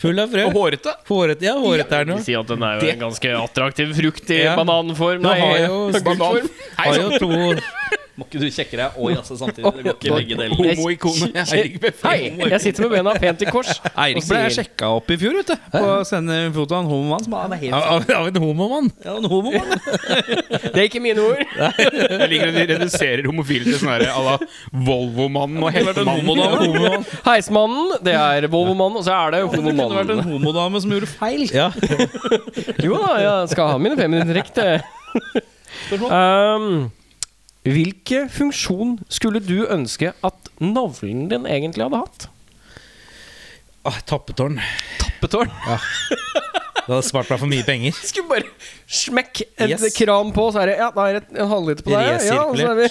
Full av frø. Og hårete. Håret, ja, håret er noe. Si at den er jo en ganske attraktiv frukt i Ja. bananform. Nå Nei, har jo, agurkform. har jo to Må ikke du sjekke deg og jazze samtidig? Det går ikke begge deler. Homoikone. Hei, jeg sitter med bena pent i kors. Eirik ble jeg sjekka opp i fjor, vet du. På å sende foto av en homomann som er helt av, av en homomann. ja, en homomann. Det er ikke mine ord. Jeg liker at de reduserer homofile til sånn her à la Volvo-mannen og heltemannen. Homodame. Heismannen, det er Volvo-mannen, og så er det Det kunne vært homomannen. en homodame som gjorde feil. Ja. Jo da, jeg skal ha mine feminine trekk, det. Um, hvilke funksjon skulle du ønske at navlen din egentlig hadde hatt? Ah, tappetårn. Betårn. Det hadde spart meg for mye penger. Skulle bare smekk et Yes. kran på, så er det Ja, da er det en halvliter på deg. Ja, og så er vi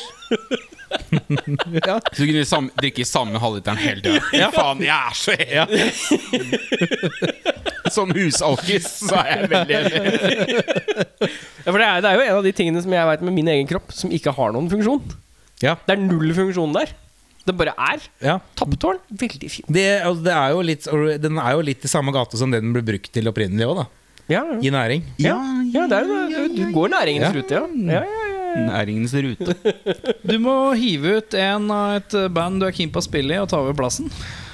Så du kunne sam drikke samme halvliteren hele tida. Faen, jeg er så hea! Som husalkis så er jeg veldig enig. Ja, for det er, det er jo en av de tingene som jeg veit med min egen kropp, som ikke har noen funksjon. Ja. Det er null funksjon der. Det bare er. Ja. Tappetårn, veldig fint. Det, altså, det er jo litt, den er jo litt i samme gate som det den ble brukt til opprinnelig òg, da. Ja, I næring. ja, ja Mm. det er jo det. Du går næringens Ja. rute, ja. ja, ja, ja. Næringens rute. Du må hive ut en av et band du er keen på å spille i, og ta over plassen.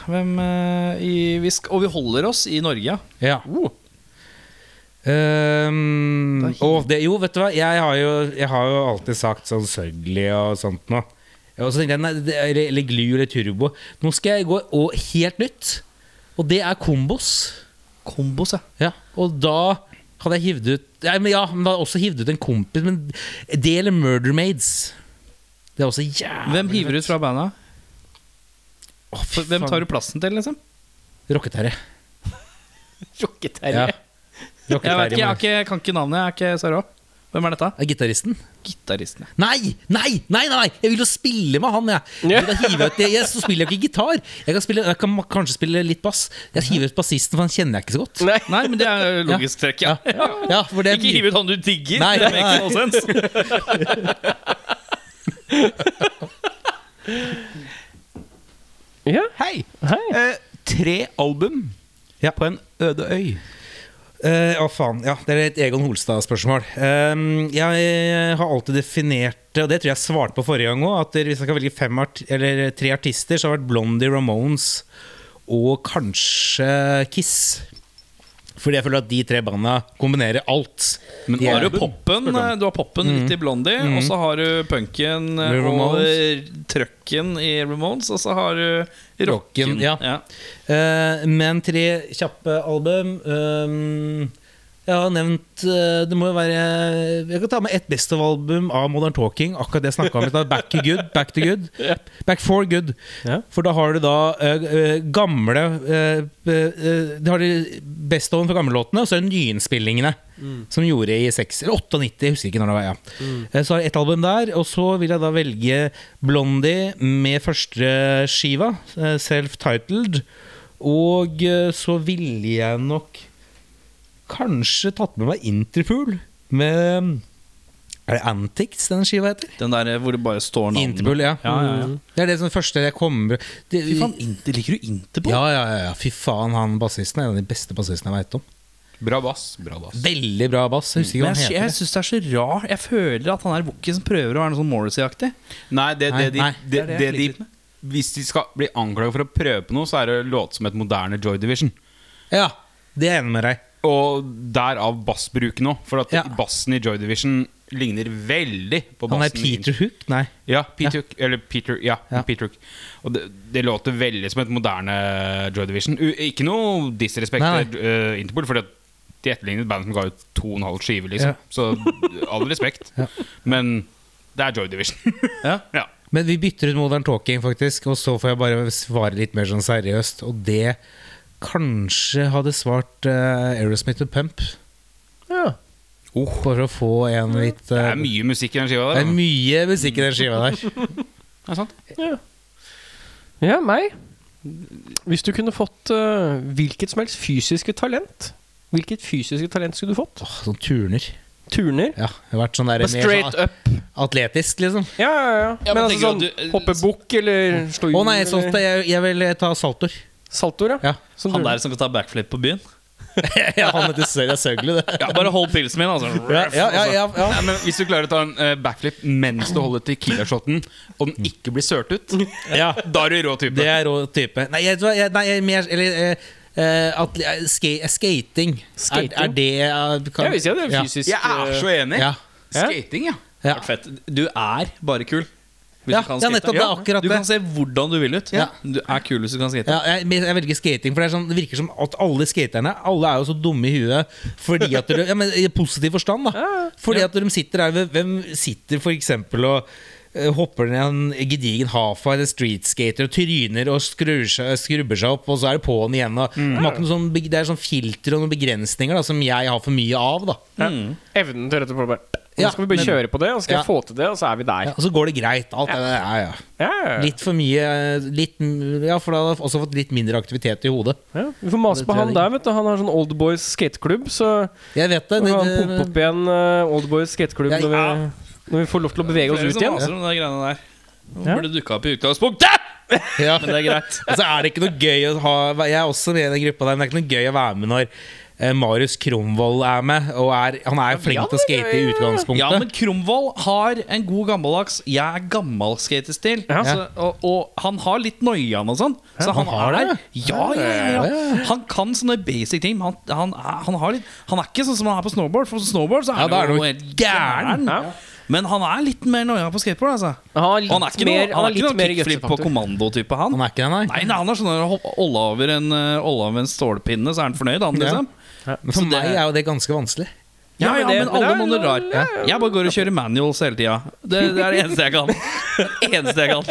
Hvem, eh, i, vi sk og vi holder oss i Norge. ja. Ja. Ehm, og det, jo, vet du hva, jeg har jo, jeg har jo alltid sagt sånn sørgelig og sånt noe. Og så tenkte jeg, nei, det, eller, eller glu eller turbo. Nå skal jeg gå og helt nytt, og det er kombos. Kombos, ja. Ja, og da hadde jeg hivd ut Nei, men ja, men da hadde jeg også hivd ut en kompis, men det eller Murder Maids. Det er også jævlig Hvem hiver ut fra banda? Å, fy Hvem faen. tar du plassen til, liksom? Rocketerre. Rocketerre. Jeg vet ikke, Rocketerre. jeg, har men- ikke, jeg kan ikke navnet. Jeg er ikke så rå. Hvem er dette? Er Gitaristen. Gitaristen. Nei, nei, nei, nei, nei Jeg vil jo spille med han, jeg. Ja. Da hiver jeg, ut, jeg, jeg så spiller jeg ikke gitar. Jeg kan, spille, jeg kan ma- kanskje spille litt bass. Jeg hiver ut bassisten, for han kjenner jeg ikke så godt. Nei. Nei, men det er logisk trekk, ja. Ja, for det Ikke hiv ut han du digger. Nei, det makes nei. no sense. Ja. Hei! Hei. Eh, tre album Ja. på en øde øy. Eh, Å, faen. Ja, det er et Egon Holstad-spørsmål. Ehm, jeg har alltid definert det, og det tror jeg svarte på forrige gang òg, at hvis jeg skal velge fem art eller tre artister, så har det vært Blondie, Ramones og kanskje Kiss. Fordi jeg føler at de tre banda kombinerer alt. Men De er- Mm. har du poppen eh, Du har poppen litt i Blondie, og så har du punken eh, Med og Ramones. trøkken i Ramones, og så har du rocken. Rocken, ja. Eh, men tre kjappe album ehm, Jeg har nevnt eh, Det må jo være Jeg kan ta med ett best of-album av Modern Talking. Akkurat det jeg snakka om. i stad. Back to good. Back to good Back for good. Ja. For da har du da eh, eh, gamle eh, eh, Det har du best of-en fra gamlelåtene, og så er det nyinnspillingene. Som gjorde i 6, eller 98, jeg husker ikke når det var. Ja. Eh, Så har jeg ett album der, og så vil jeg da velge Eh, Blondie med første skiva, eh, self-titled. Og eh, så ville jeg nok kanskje tatt med meg Interpool med Er det Antics den skiva heter? Den der eh, hvor det bare står navn. Interpool, ja. Mm. Ja, ja, ja. Det er det som første jeg kommer det, Fy faen, Inter- liker du Interpol? ja, ja, ja, ja. Fy faen, han bassisten er en av de beste bassistene jeg veit om. Bra bass. Bra bass. Veldig bra bass. Jeg husker ikke hva Men han jeg, jeg heter. syns det er så rar Jeg føler at han er Wookie som prøver å være noe sånn Morrissey-aktig. Nei, det, det, Nei, de, nei. Det, Det er det det jeg de sliter med. Hvis de skal bli anklaget for å prøve på noe, så er det å låte som et moderne Joy Division. Ja, det er jeg enig med deg Og derav bassbruken òg. For at Ja. bassen i Joy Division ligner veldig på bassen Han er i- Peter Hook? Nei. Ja, Peter Hook. Eller Peter, ja, Ja. Peter Hook. Og det, det låter veldig som et moderne Joy Division. U ikke noe disrespekt Nei, til eh, Interpol, for de etterlignet et band som ga ut to og en halv skive, liksom. Ja. Så all respekt. Men det er Joy Division. Ja. ja. Men vi bytter ut Modern Talking, faktisk, og så får jeg bare svare litt mer sånn seriøst. Og det kanskje hadde svart eh, Aerosmith med Pump. Ja. Oh. Bare for å få en litt Det eh, er mye musikk i den skiva det der. er da. mye musikk i den skiva der. Ja, meg. Hvis du kunne fått eh, hvilket som helst fysiske talent, hvilket fysiske talent skulle du fått? Åh, sånn turner. Turner? Ja, det har vært sånn der Bare mer straight sånn up. atletisk, liksom. Ja, ja, ja. men altså sånn eh, hoppe bukk eller Mm. slå hjul Å nei, sånt, eller jeg, jeg vil eh, ta saltor. saltoer, ja. Sånn- Ja. Som Han turner. der som kan ta backflip på byen? ja, han heter Sørja Søgli, det. Ja, bare hold pilsen min, altså. Ja, ja, ja, ja, ja. Nei, men hvis du klarer å ta en eh, backflip mens du holder tequila-shoten, og den ikke blir sølt ut, da er du rå type. Det er rå type. Nei, jeg, vet du hva, jeg, nei, jeg er mer Eller eh, eh, at, eh, ska, skating. Skating? Er, er det eh, kan- Jeg vil si at det er fysisk Jeg er så enig. eh, Ja. Skating, ja. Ja. Fett. Du er bare kul. Hvis Ja, du kan ja, skate. nettopp, det er akkurat Du det. kan se hvordan du vil ut. Ja. Du er kul hvis du kan skate. Ja, jeg, men jeg velger skating, for det, er sånn, det virker som at alle skaterne Alle er jo så dumme i huet fordi at de, ja, men I positiv forstand, da. Fordi at de sitter der ved- Hvem sitter f.eks. og eh, hopper ned en gedigen hafa eller streetskater og tryner og skrur seg, skrubber seg opp, og så er det på'n igjen. Og, de har ikke noe sånn, beg- det er sånn filter og noen begrensninger da, som jeg har for mye av. da evnen til rett og slett bare Nå Ja, skal vi bare men- kjøre på det, og så skal Ja. jeg få til det, og så er vi der. ja, Og så går det greit. Alt er ja, ja. Ja, ja, ja. Litt for mye litt, Ja, for da har jeg også fått litt mindre aktivitet i hodet. Ja, Vi får mase Det på tror jeg han ikke. der, vet du. Han har sånn Oldboys skateklubb, så Jeg vet det. vi det, kan det, pumpe opp igjen eh, Oldboys skateklubb Ja, når, ja. vi, når vi får lov til å bevege oss Flere ut som ign. maser om de greiene der. Nå Ja. burde du dukke opp i utgangspunktet! ja. Men det er greit. Og så er det ikke noe gøy å ha Jeg er også med i den gruppa der, men det er ikke noe gøy å være med når eh, Marius Kromvold er med. Og er, han er jo flink til å skate i utgangspunktet. Ja, men Kromvold har en god gammeldags Jeg er gammel skatestil. Ja. Så, og, og han har litt noian og sånn. Så han, han har er det? Ja, ja, ja, ja. Han kan sånne basic ting. men Han, han, er, han, har litt, han er ikke sånn som han er på snowboard, for på snowboard så Ja, er da er han du jo helt gæren. Ja. Men han er litt mer noian på skateboard. Altså. Han har litt Og han er ikke mer- noe, han han har er ikke litt mer noe kickflip på gutsefaktor. kommando-type, han. Han er ikke det, nei. Nei, nei, han er sånn der, hopp- Olle over en, eh, Olle over en stålpinne, så er han fornøyd, han, Ja. liksom. Men for meg er jo det ganske vanskelig. Ja, men ja, det- men, alle men det monner er- rar. Jeg bare går og kjører manuals hele tida. Det, det er det eneste jeg kan. Det eneste jeg kan.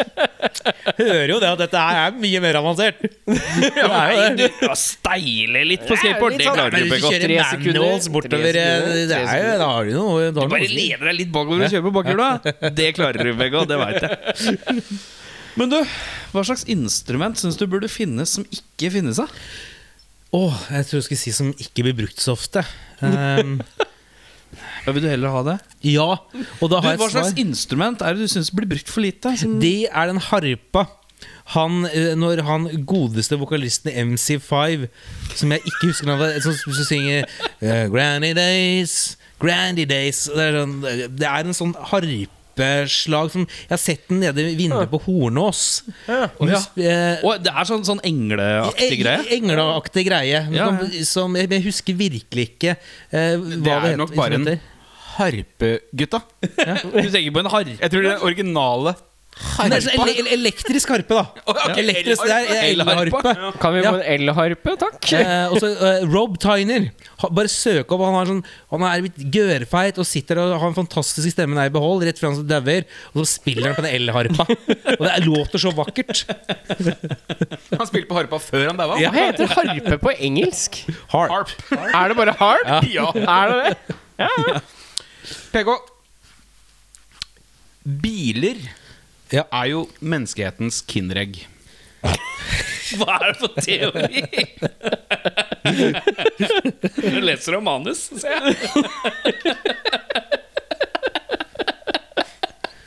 Hører jo det at dette her er mye mer avansert. Nei, du å steile litt sånn. på skateboard, det klarer Men du hvis du ikke. kjører Tre sekunder, manuals bortover tre eh, sekunder, det tre er jo, Da har du noe. Da har du Bare noe. leder deg litt bakover og kjører på bakhjula. Det klarer du, Begå. Det veit jeg. Men du, hva slags instrument syns du burde finnes som ikke finnes? da? Åh, jeg tror jeg skulle si som ikke blir brukt så ofte. Ehm, Ja, vil du heller ha det? ja, og da Du, har jeg hva et svar. slags instrument er det du syns blir brukt for lite? Som Det er den harpa han, eh, Når han godeste vokalisten i MC5 Som jeg ikke husker navnet Som, som, som synger eh, Granny Days Grandy Days det er, sånn, det er en sånn harpeslag som, Jeg har sett den nede i vinduet på Hornås Og ja. hus- eh, Å, det er sånn, sånn engleaktig greie? Engleaktig greie men Ja, som, som jeg, men jeg husker virkelig ikke eh, Hva det, Det er heter, nok bare en instrumentet. harpegutta. Du tenker på en harpe? Jeg tror det er originale Men det er sånn ele- ele- Elektrisk harpe da Elektrisk, det er elharpe Kan vi Ja. få en elharpe, takk? Eh, og så eh, Rob Tyner. Ha, bare søk opp. Han, har sånn, han er litt gørrfeit og sitter og har en fantastisk stemme der i behold, rett før han dauer. Og så spiller han på den elharpa. og det er- låter så vakkert. Han spilte på harpa før han daua. Hva heter harpe på engelsk? Harp. Er det bare harp? Ja. Er det det? PK. Biler Ja. er jo menneskehetens kinderegg. Hva er det for teori? Du leser om manus, ser jeg.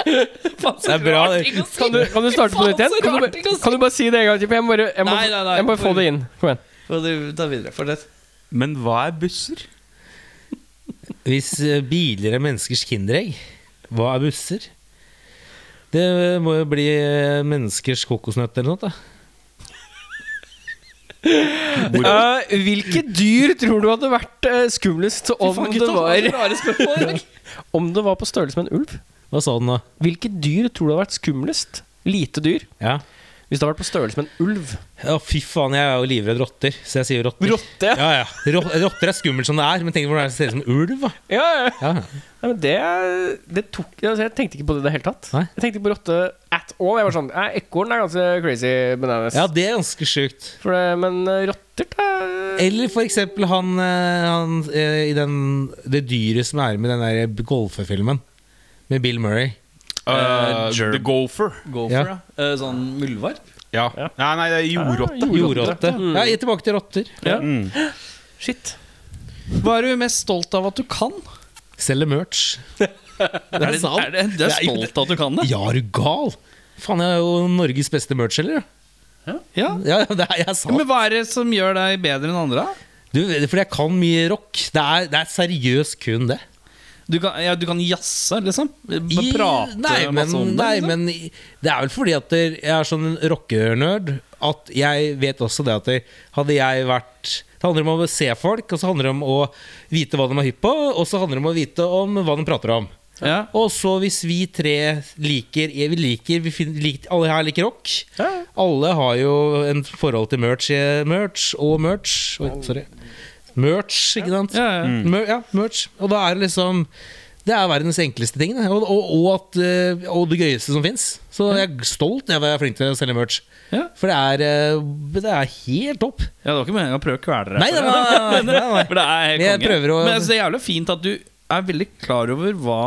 Det er bra. det. Kan du, kan du starte på nytt igjen? Kan du, bare- kan du bare si det en gang til? for Jeg må bare, jeg må, Nei, nei, nei. jeg må bare få det inn. Kom igjen. Ta videre. Fortsett. Men hva er busser? Hvis eh, biler er menneskers kinderegg, hva er busser? Det eh, må jo bli eh, menneskers kokosnøtt eller noe. da Eh, hvilke dyr tror du hadde vært eh, skumlest om det, var, om det var på størrelse med en ulv? Hva sa den da? Hvilke dyr tror du hadde vært skumlest? Lite dyr. Ja. Hvis det hadde vært på størrelse med en ulv Ja, fy faen, jeg er jo livredd rotter, så jeg sier rotter. Rotte? Ja, ja. Ro- Rotter er skummelt som det er, men tenk hvordan det ser ut som en ulv. da. Ja, ja. Ja. Nei, men det, det tok altså, Jeg tenkte ikke på det i det hele tatt. Nei. Jeg tenkte ikke på rotte at all. Jeg var sånn «Nei, Ekorn er ganske crazy bananas. ja, det er ganske sjukt. For det, men eh, rotter det er- Eller for eksempel han, eh, han eh, i den, det dyret som er med den der golfefilmen med Bill Murray. Eh, Germ. the Gopher. Ja. Eh, sånn muldvarp? Ja. Nei, nei, Ah, det er jordrotte. Jordrotte. Ja, tilbake til rotter. Mm. Shit. Hva er du mest stolt av at du kan? Selger merch. Det er sant. det, du er stolt av at du kan det? Ja, er du gal? Faen, jeg er jo Norges beste merch-selger. Ja. Ja, ja, det er, jeg er sant. Men hva er det som gjør deg bedre enn andre? da? Du, fordi jeg kan mye rock. Det er, det er seriøst kun det. Du kan, ja, du kan jazze, liksom? Bare I- prate nei, men, masse om det? nei, liksom? men i- det er vel fordi at der- jeg er sånn en rockernerd at jeg vet også det at der, hadde jeg vært Det handler om å se folk, og så handler det om å vite hva de er hypp på, og så handler det om å vite om hva de prater om. ja. Og så hvis vi tre liker Vi liker, vi fin- lik- Alle her liker rock. Alle har jo en forhold til merch, eh, merch og merch. Oi, sorry. Merch, ikke sant? Mm. Ja, ja. Mer, ja, merch. Og da er det liksom Det er verdens enkleste ting. det. Og, og, og, at, eh, og det gøyeste som fins. Så jeg er stolt av at jeg er flink til å selge merch. Ja. For det er, eh, det er helt topp. Ja, det var ikke meningen å prøve å kvele deg. Nei, for nei, nei, nei, nei, nei. For det er helt Men jeg konge. prøver å- Men altså, det er jævlig fint at du er veldig klar over hva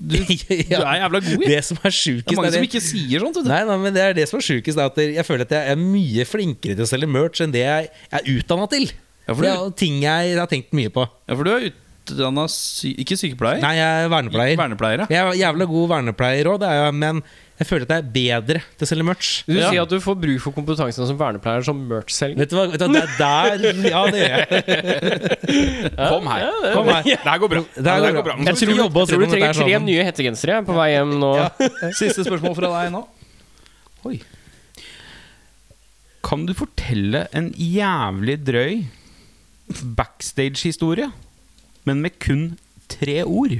du, du Ja. er jævla god i. Det som er Det sjukest, er mange det- som ikke sier sånt. vet du. Nei, nei, men det er det som er sjukest. er at Jeg føler at jeg er mye flinkere til å selge merch enn det jeg er utdanna til. Ja, for det du- er jo ting jeg har tenkt mye på. Ja, for du er utdanna sy ikke sykepleier? Nei, jeg er vernepleier. Vernepleier, ja. Jeg er jævla god vernepleier òg, men jeg føler at jeg er bedre til å selge merch. Du sier at du får bruk for kompetansen som vernepleier som merch-selger. Vet du hva, vet du, hva, det er der Ja, det gjør jeg. Kom her. Kom her. Det her går bra. Det her går bra. Jeg tror, jobbe Jeg oss tror du gjennom dette trenger her tre sammen. nye hettegensere på vei hjem nå. Siste spørsmål fra deg nå. Kan du fortelle en jævlig drøy backstage-historie, men med kun tre ord?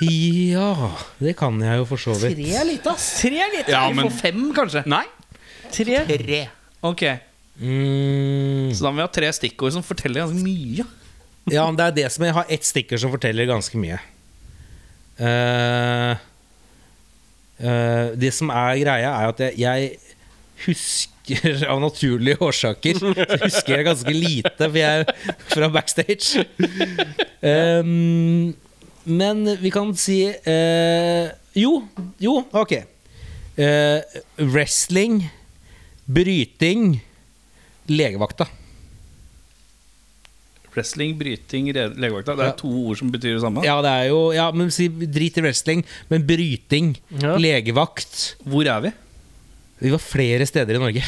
Ja, det kan jeg jo for så vidt. Tre er lite, ass. Tre er lite. Ja, Vi men- får fem, kanskje. Nei. Tre? Ok, Mm, Så da må vi ha tre stikkord som forteller ganske mye. ja, men det er det som jeg har ett stikker som forteller ganske mye. Eh, eh, det som er greia, er at jeg, jeg husker av naturlige årsaker Så husker jeg ganske lite for jeg, fra backstage. Um, men vi kan si eh, Jo, jo, ok. Eh, wrestling, bryting, legevakta. Wrestling, bryting, re- legevakta. Det Ja. er to ord som betyr det samme. Ja, det er jo ja, men si, Drit i wrestling, men bryting, Ja. legevakt Hvor er vi? Vi var flere steder i Norge.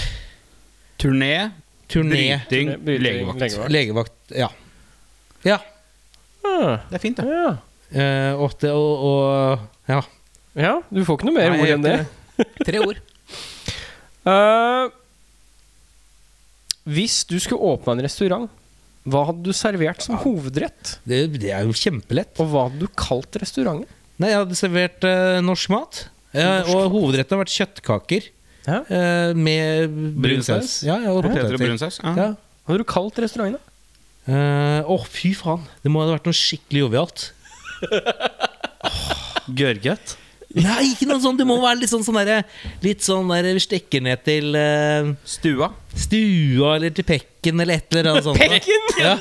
Turné, Turné, bryting, legevakt. Legevakt. legevakt Ja. ja. Ah, Det er fint, det. Ja. eh, og, det- og, og Ja. ja, du får ikke noe mer Nei, ord jeg gjør enn det. ikke Tre ord. Eh, hvis du skulle åpna en restaurant, hva hadde du servert som hovedrett? Det, det er jo kjempelett. Og hva hadde du kalt restauranten? Nei, jeg hadde servert eh, norsk mat. Eh, og hovedretten har vært kjøttkaker Ja. eh, med brun saus. saus? Ja, ja, og Poteter og poteter. brun saus. Ja. Ja. Hva hadde du kalt restauranten? da? Å, Eh, fy faen. Det må ha vært noe skikkelig jovialt. Gørget. Nei, ikke noe sånt! Det må være litt sånn, sånn derre Litt sånn der vi stikker ned til eh, Stua. stua eller til pekken eller et eller annet sånt. Pekken?! Ja,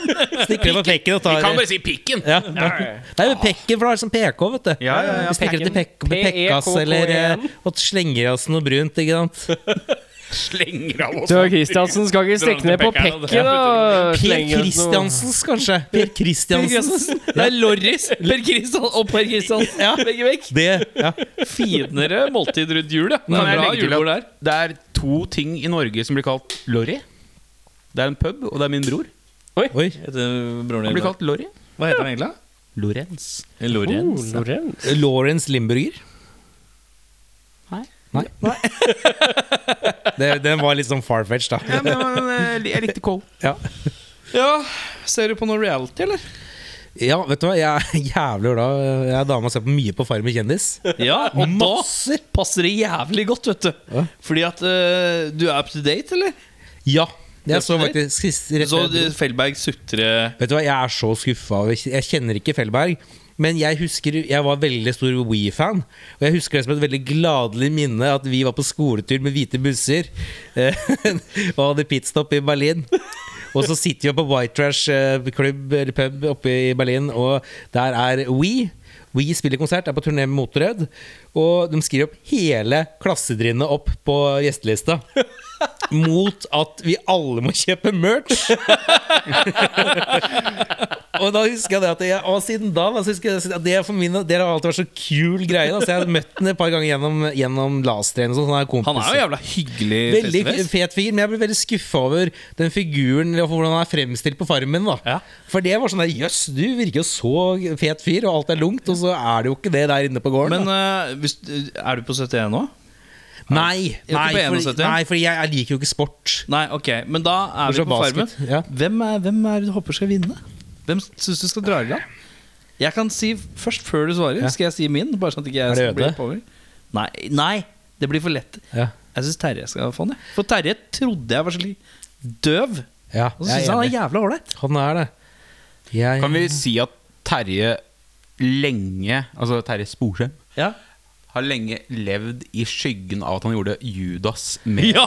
stikker ned på pekken og tar si pikken. ja. Nei, men pekken, for det er sånn PK, vet du. Ja, ja, ja. Vi stikker til pek Pekken. pekkas P-E-K-K-E-N. eller eh, og slenger i oss noe brunt, ikke sant. Slenger av oss. Tøy Kristiansen skal ikke stikke ned på Pekken, pekken og Per slenge oss noe. Kristiansens, kanskje. Per Kristiansens. Det er Lorris, Per Kristian og Per Kristian. Ja. Begge vekk. Det, ja. Finere måltid rundt jul, ja. Det Kan er jeg bra legge til julebord der. at det er to ting i Norge som blir kalt Lorry. Det er en pub, og det er min bror. Oi. Heter broren din Han blir kalt Lorry. Hva heter han egentlig? Lorentz. Lorens. Oh, Lorenz. Lawrence Limburger. Nei. Nei. det, den var litt sånn far-fetched, da. Ja, men, men, eh, jeg likte Cole. Ja, Ser du på noe reality, eller? Ja, vet du hva, jeg er jævlig glad. Jeg er dame og ser på mye på Farmen kjendis. Ja, og Masse. da passer det jævlig godt, vet du. Ja. Fordi at eh, du er up to date, eller? Ja, jeg så faktisk sist rett Så eh, Fellberg sutre Vet du hva, jeg er så skuffa. over- Jeg kjenner ikke Fellberg. Men jeg husker, jeg var veldig stor We-fan. Og jeg husker det som et veldig gladelig minne at vi var på skoletur med hvite busser eh, og hadde pitstop i Berlin. Og så sitter vi på White Trash eh, klubb eller pub oppe i Berlin, og der er We. We spiller konsert, er på turné med Motorhead. Og de skriver opp hele klassetrinnet opp på gjestelista. Mot at vi alle må kjøpe merch. Og da husker jeg det at jeg, Og siden da da, så husker jeg at det, for min, det har alltid vært så kul greie. Da. Så jeg har møtt den et par ganger gjennom, gjennom Lasertrain. og sånn, sånn her kompis. Han er jo jævla hyggelig. Veldig festfest. fet fyr, men jeg ble veldig skuffa over den figuren og hvordan han er fremstilt på Farmen. da Ja. For det var sånn der Jøss, du virker jo så fet fyr, og alt er lungt, og så er det jo ikke det der inne på gården. Men da. eh, hvis, er du på 71 nå? nei, er nei, ikke på fordi- 71. nei, fordi jeg, jeg liker jo ikke sport. Nei, ok. Men da er vi Bortsett på fra Farmen. basket, ja. Hvem, er, hvem er det du håper skal vinne? Hvem syns du skal dra i land? Jeg kan si først, før du svarer, skal jeg si min. Bare sånn at ikke jeg Er det skal bli Øde? oppover. Nei, nei, det blir for lett. Ja, Jeg syns Terje skal få den. jeg. For Terje trodde jeg var så døv. ja Og så syns jeg er jeg han er enig. jævla ålreit. Han er det. Jeg, Kan vi si at Terje lenge Altså Terje Sporsem Ja. har lenge levd i skyggen av at han gjorde Judas med Ja,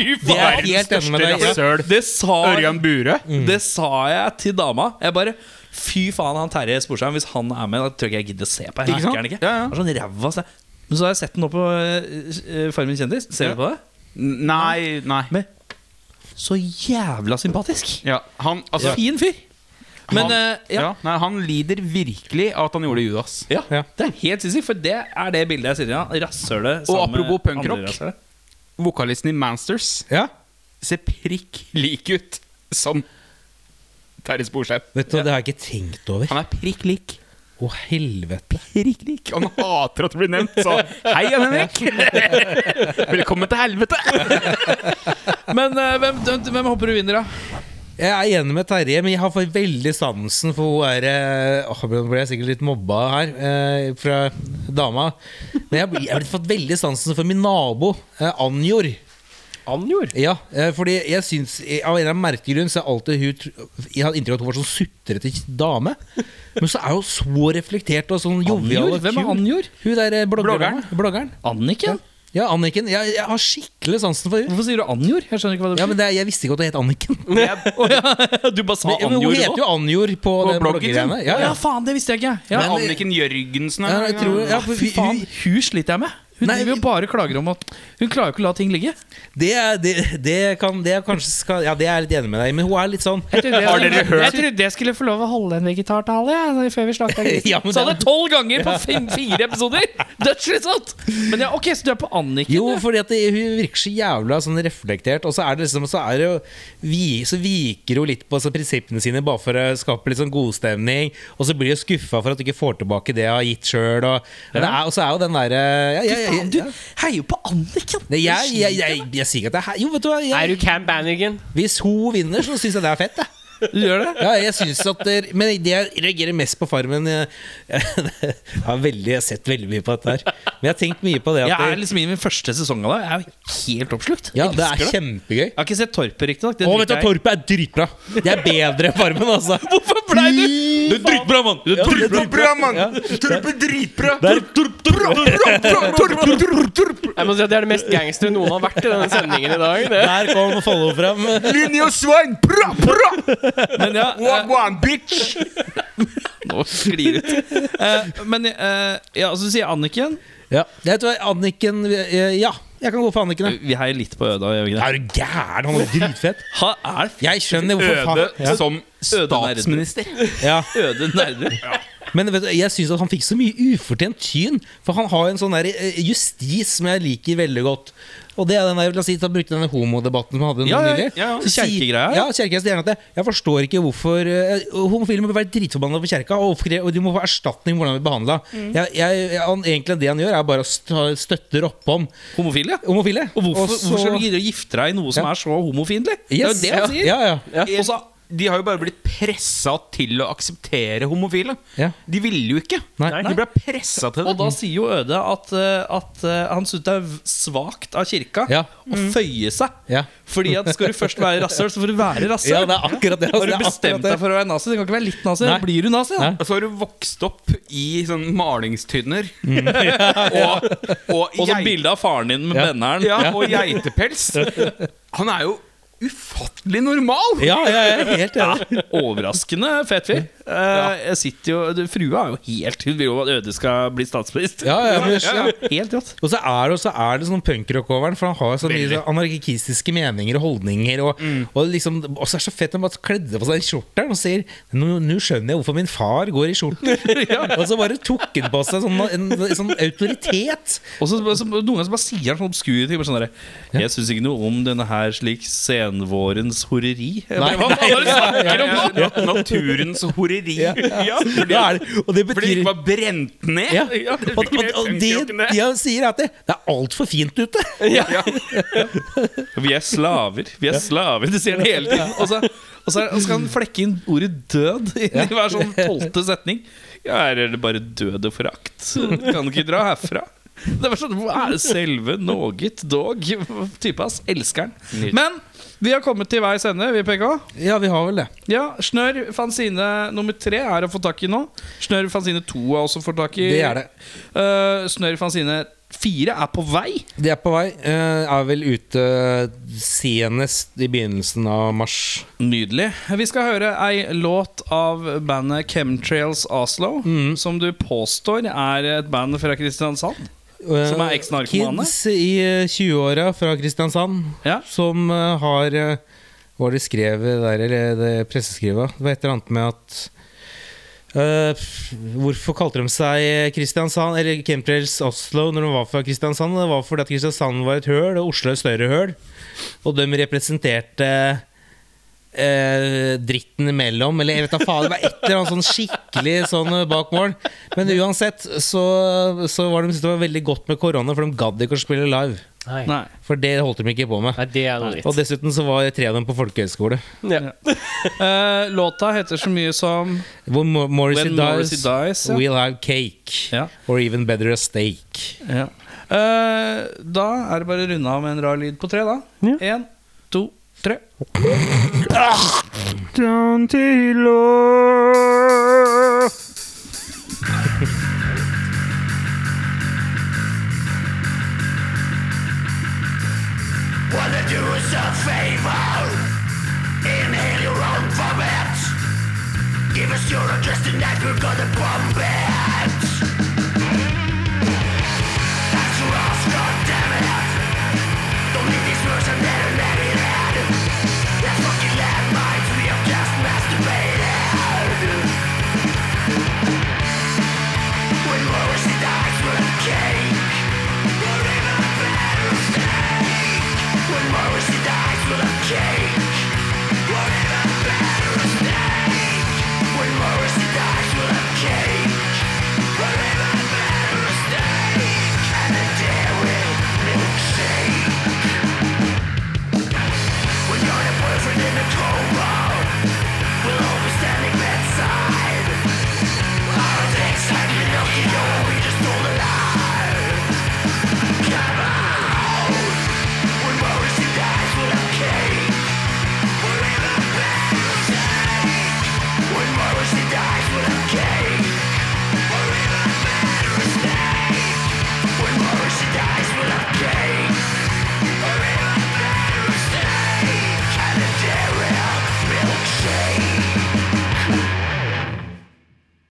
det er helt enig med deg. Ja. Søl Det sa, Ørjan Bure. det sa jeg til dama. Jeg bare Fy faen, han Terje Sporsheim, hvis han er med, da tror jeg ikke jeg gidder å se på. Jeg Ikke sant? liker han ikke. Ja, ja. Han er sånn ræva, altså. Men så har jeg sett den nå på eh, eh, Farmen kjendis. Ser du på det? Nei, nei. Så jævla sympatisk. Ja, han, altså, Fin fyr. Men han, eh, ja. ja. nei, han lider virkelig av at han gjorde Judas. Ja, det er helt sinnssykt, for det er det bildet jeg sitter igjen med. Rasshølet Og sammen med apropos andre punkrock. rasshølet. Vokalisten i Mansters Ja. ser prikk lik ut som Terje Sporsem. Vet du, hva, Det har jeg ikke tenkt over. Han er prikk lik. Å, helvete. Prikk lik. Og han hater at det blir nevnt, så hei, Jan Henrik. Velkommen til helvete. Men eh, hvem, hvem, hvem håper du vinner, da? Jeg er enig med Terje, men jeg har fått veldig sansen for hun er eh, åh, Nå ble jeg sikkert litt mobba her eh, fra dama. Men jeg har- jeg har fått veldig sansen for min nabo, eh, Anjor. Anjor? Ja, eh, fordi jeg syns eh, Av en eller annen merkelig grunn så er alltid hun tr- Jeg hadde inntrykk av at hun var sånn sutrete dame. Men så er hun så reflektert og sånn jovial. og Hvem er kul. Anjor? Hun der eh, bloggeren. Bloggeren? bloggeren. Anniken? Ja, Anniken. Jeg, jeg har skikkelig sansen for henne. Hvorfor sier du Anjor? Jeg skjønner ikke hva det Ja, men det, er- jeg visste ikke at hun het Anniken. Men, Du bare sa men hun Anjor heter nå? jo Anjor på, På den bloggen sin. bloggegreiene. Ja, ja. faen, det visste jeg ikke. Ja. Men- Anniken Jørgensen Ja, er jeg tror, ja, for, Fy faen, hun sliter jeg med. Hun Nei, driver jo vi- bare og klager om at Hun klarer jo ikke å la ting ligge. Det, er- det, det kan det er kanskje skal, Ja, det er jeg litt enig med deg i, men hun er litt sånn Har dere hørt? Jeg trodde jeg skulle få lov å holde en vegetartale jeg, før vi slakta grisen. ja, men Sa det det- tolv ganger på fem, fire episoder! Dødsslitsomt! Men ja, ok, så du er på Anniken? Jo, du. fordi at det, hun virker så jævla sånn reflektert, og så er det liksom Så, er det jo, vi, så viker hun litt på så prinsippene sine bare for å skape litt sånn godstemning, og så blir hun skuffa for at du ikke får tilbake det hun har gitt sjøl, og, det er- og så er jo den derre ja, ja, ja, Faen, du ja. heier jo på Anniken! Det- Jeg, jeg, jeg, jeg, jeg sier ikke at det er he- Jo, vet du hva. Er Jeg, du Cam Bannigan? hvis hun vinner, så syns jeg det er fett, jeg. Du gjør det? Ja, jeg synes at det, Men det jeg reagerer mest på Farmen eh, Jeg, jeg, har veldig, jeg har sett veldig mye på dette her. Men jeg har tenkt mye på det Jeg at er det, liksom i min første sesong av det. Jeg er jo helt oppslukt. ja, Jeg det elsker er kjempegøy. Jeg har ikke sett Torpet, riktignok. det Å, vet driter du, jeg i. Torpet er dritbra! Det er bedre enn Farmen, altså. Hvorfor blei du- Det er dritbra, mann! Det er dritbra, mann! Torpet er dritbra! Jeg må si at Det er det mest gangster noen har vært i denne sendingen i dag. Det. Der kom Follo fram. Linje og Svein! Bra, bra! Men ja, eh, bitch! nå sklir det ut. Eh, Men eh, ja, så sier jeg Anniken. Ja, vet du hva, Anniken eh, Ja, jeg kan gå for Anniken. jeg. Vi heier litt på Øda, gjør vi ikke det? Er du gæren? Han er dritfett. Ha, er Jeg skjønner hvorfor Øde faen ja. som statsminister. Ja. Øde nerder? Men vet du, jeg syns han fikk så mye ufortjent tyn. For han har en sånn der eh, justis som jeg liker veldig godt. Og det er den der, la oss si, da brukte denne homodebatten som vi hadde nå Ja, ja, nylig. ja, ja. Så sier- Kjerkegreia. Ja, kjerkegreia, så gjerne at jeg, jeg forstår ikke hvorfor eh, Homofile må være dritforbanna på kjerka, og, hvorfor- og de må få erstatning for hvordan de blir behandla. Jeg, jeg, jeg, han, egentlig det han gjør, er bare å st- støtter oppom Homofil, ja. homofile. Og hvorfor, Og så- hvorfor skal du gidde å gifte deg i noe som Ja. er så homofiendtlig? Det er jo Yes, det han sier. Ja, ja. Og så de har jo bare blitt pressa til å akseptere homofile. Ja. De ville jo ikke. Nei. De ble pressa til det. Og da sier jo Øde at, eh, at eh, han syns det er v- svakt av kirka Ja. å føye seg. Ja. Fordi at skal du først være rasshøl, så får du være rasshøl. Ja, det er akkurat det. altså, Har det du er bestemt akkurat det. deg for å være nazi? Du kan ikke være litt nazi. da Blir du nazi, da? Nei. Og så har du vokst opp i sånn malingstynner. Og, Mm. og, Og så geit- bilde av faren din med benneren. ja, og geitepels. Han er jo ufattelig normal! Ja, ja, jeg er helt enig. Overraskende fet fyr. Eh, Jeg sitter jo du, Frua er jo helt Hun vil jo at Øde skal bli statsminister. Ja, ja, men, Helt rått. Og så er det, og så er det sånn punkrock-overen, for han har sånn mye sånn anarkistiske meninger og holdninger. Og, og liksom, og så er det så fett at han bare kledde på seg den skjorten og sier nå, 'Nå skjønner jeg hvorfor min far går i skjorten'. Og så bare tok han på seg sånn, en, sånn autoritet. Og så, så noen ganger så bare sier han sånn obskure ting. bare Sånn der, jeg syns ikke noe om denne her slik senvårens horeri. Jeg bare, hva faen er det du snakker om? Ja, Naturens horeri. Da er det, og det Fordi de betyr ikke var brent ned. ja. Og, og, og det de sier, er at det, det er altfor fint ute. Vi er slaver. Vi er slaver. Det sier han hele tiden. Og så, og så er- og så skal han flekke inn ordet død inn i hver sånn tolvte setning. Ja, her er det bare død og forakt. Du kan ikke dra herfra. Det er bare sånn, Hva er det selve noget dog? Type ass. Elsker han. Men vi har kommet til veis ende, vi, PK. Ja, vi har vel det. Ja, Snørr fanzine nummer tre er å få tak i nå. Snørr fanzine to er også å få tak i. Det er det. Eh, Snørr fanzine fire er på vei. De er på vei. eh, Er vel ute eh, senest i begynnelsen av mars. Nydelig. Vi skal høre ei låt av bandet Chemtrails Oslo, Mm. som du påstår er et band fra Kristiansand. Som er eks-narkomane? Eh, Kids i eh, 20-åra fra Kristiansand Ja. som eh, har eh, Hva var det de skrev der, eller det presseskrivet? Det var et eller annet med at eh, pff, Hvorfor kalte de seg Kristiansand Eller Chemtrails Oslo når de var fra Kristiansand? Det var fordi at Kristiansand var et høl, og Oslo et større høl. Og de representerte eh, dritten imellom, eller jeg vet da faen. Det var et eller annet sånn skikkelig sånn eh, bak mål. Men uansett så, så var de, syntes det var veldig godt med korona, for de gadd ikke å spille live. Nei. Nei. For det holdt de ikke på med. Nei, det er noe Og dritt. dessuten så var tre av dem på folkehøyskole. Ja. Eh, låta heter så mye som Hvor Mo- Morrissey When Morrissey dies, Dies. Ja. we'll have cake. Ja. Or even better a steak. Ja. Eh, da er det bare å runde av med en rar lyd på tre, da. Én, to, tre. Wanna do us a favor? Inhale your own vomit. Give us your address tonight, we're gonna bomb it.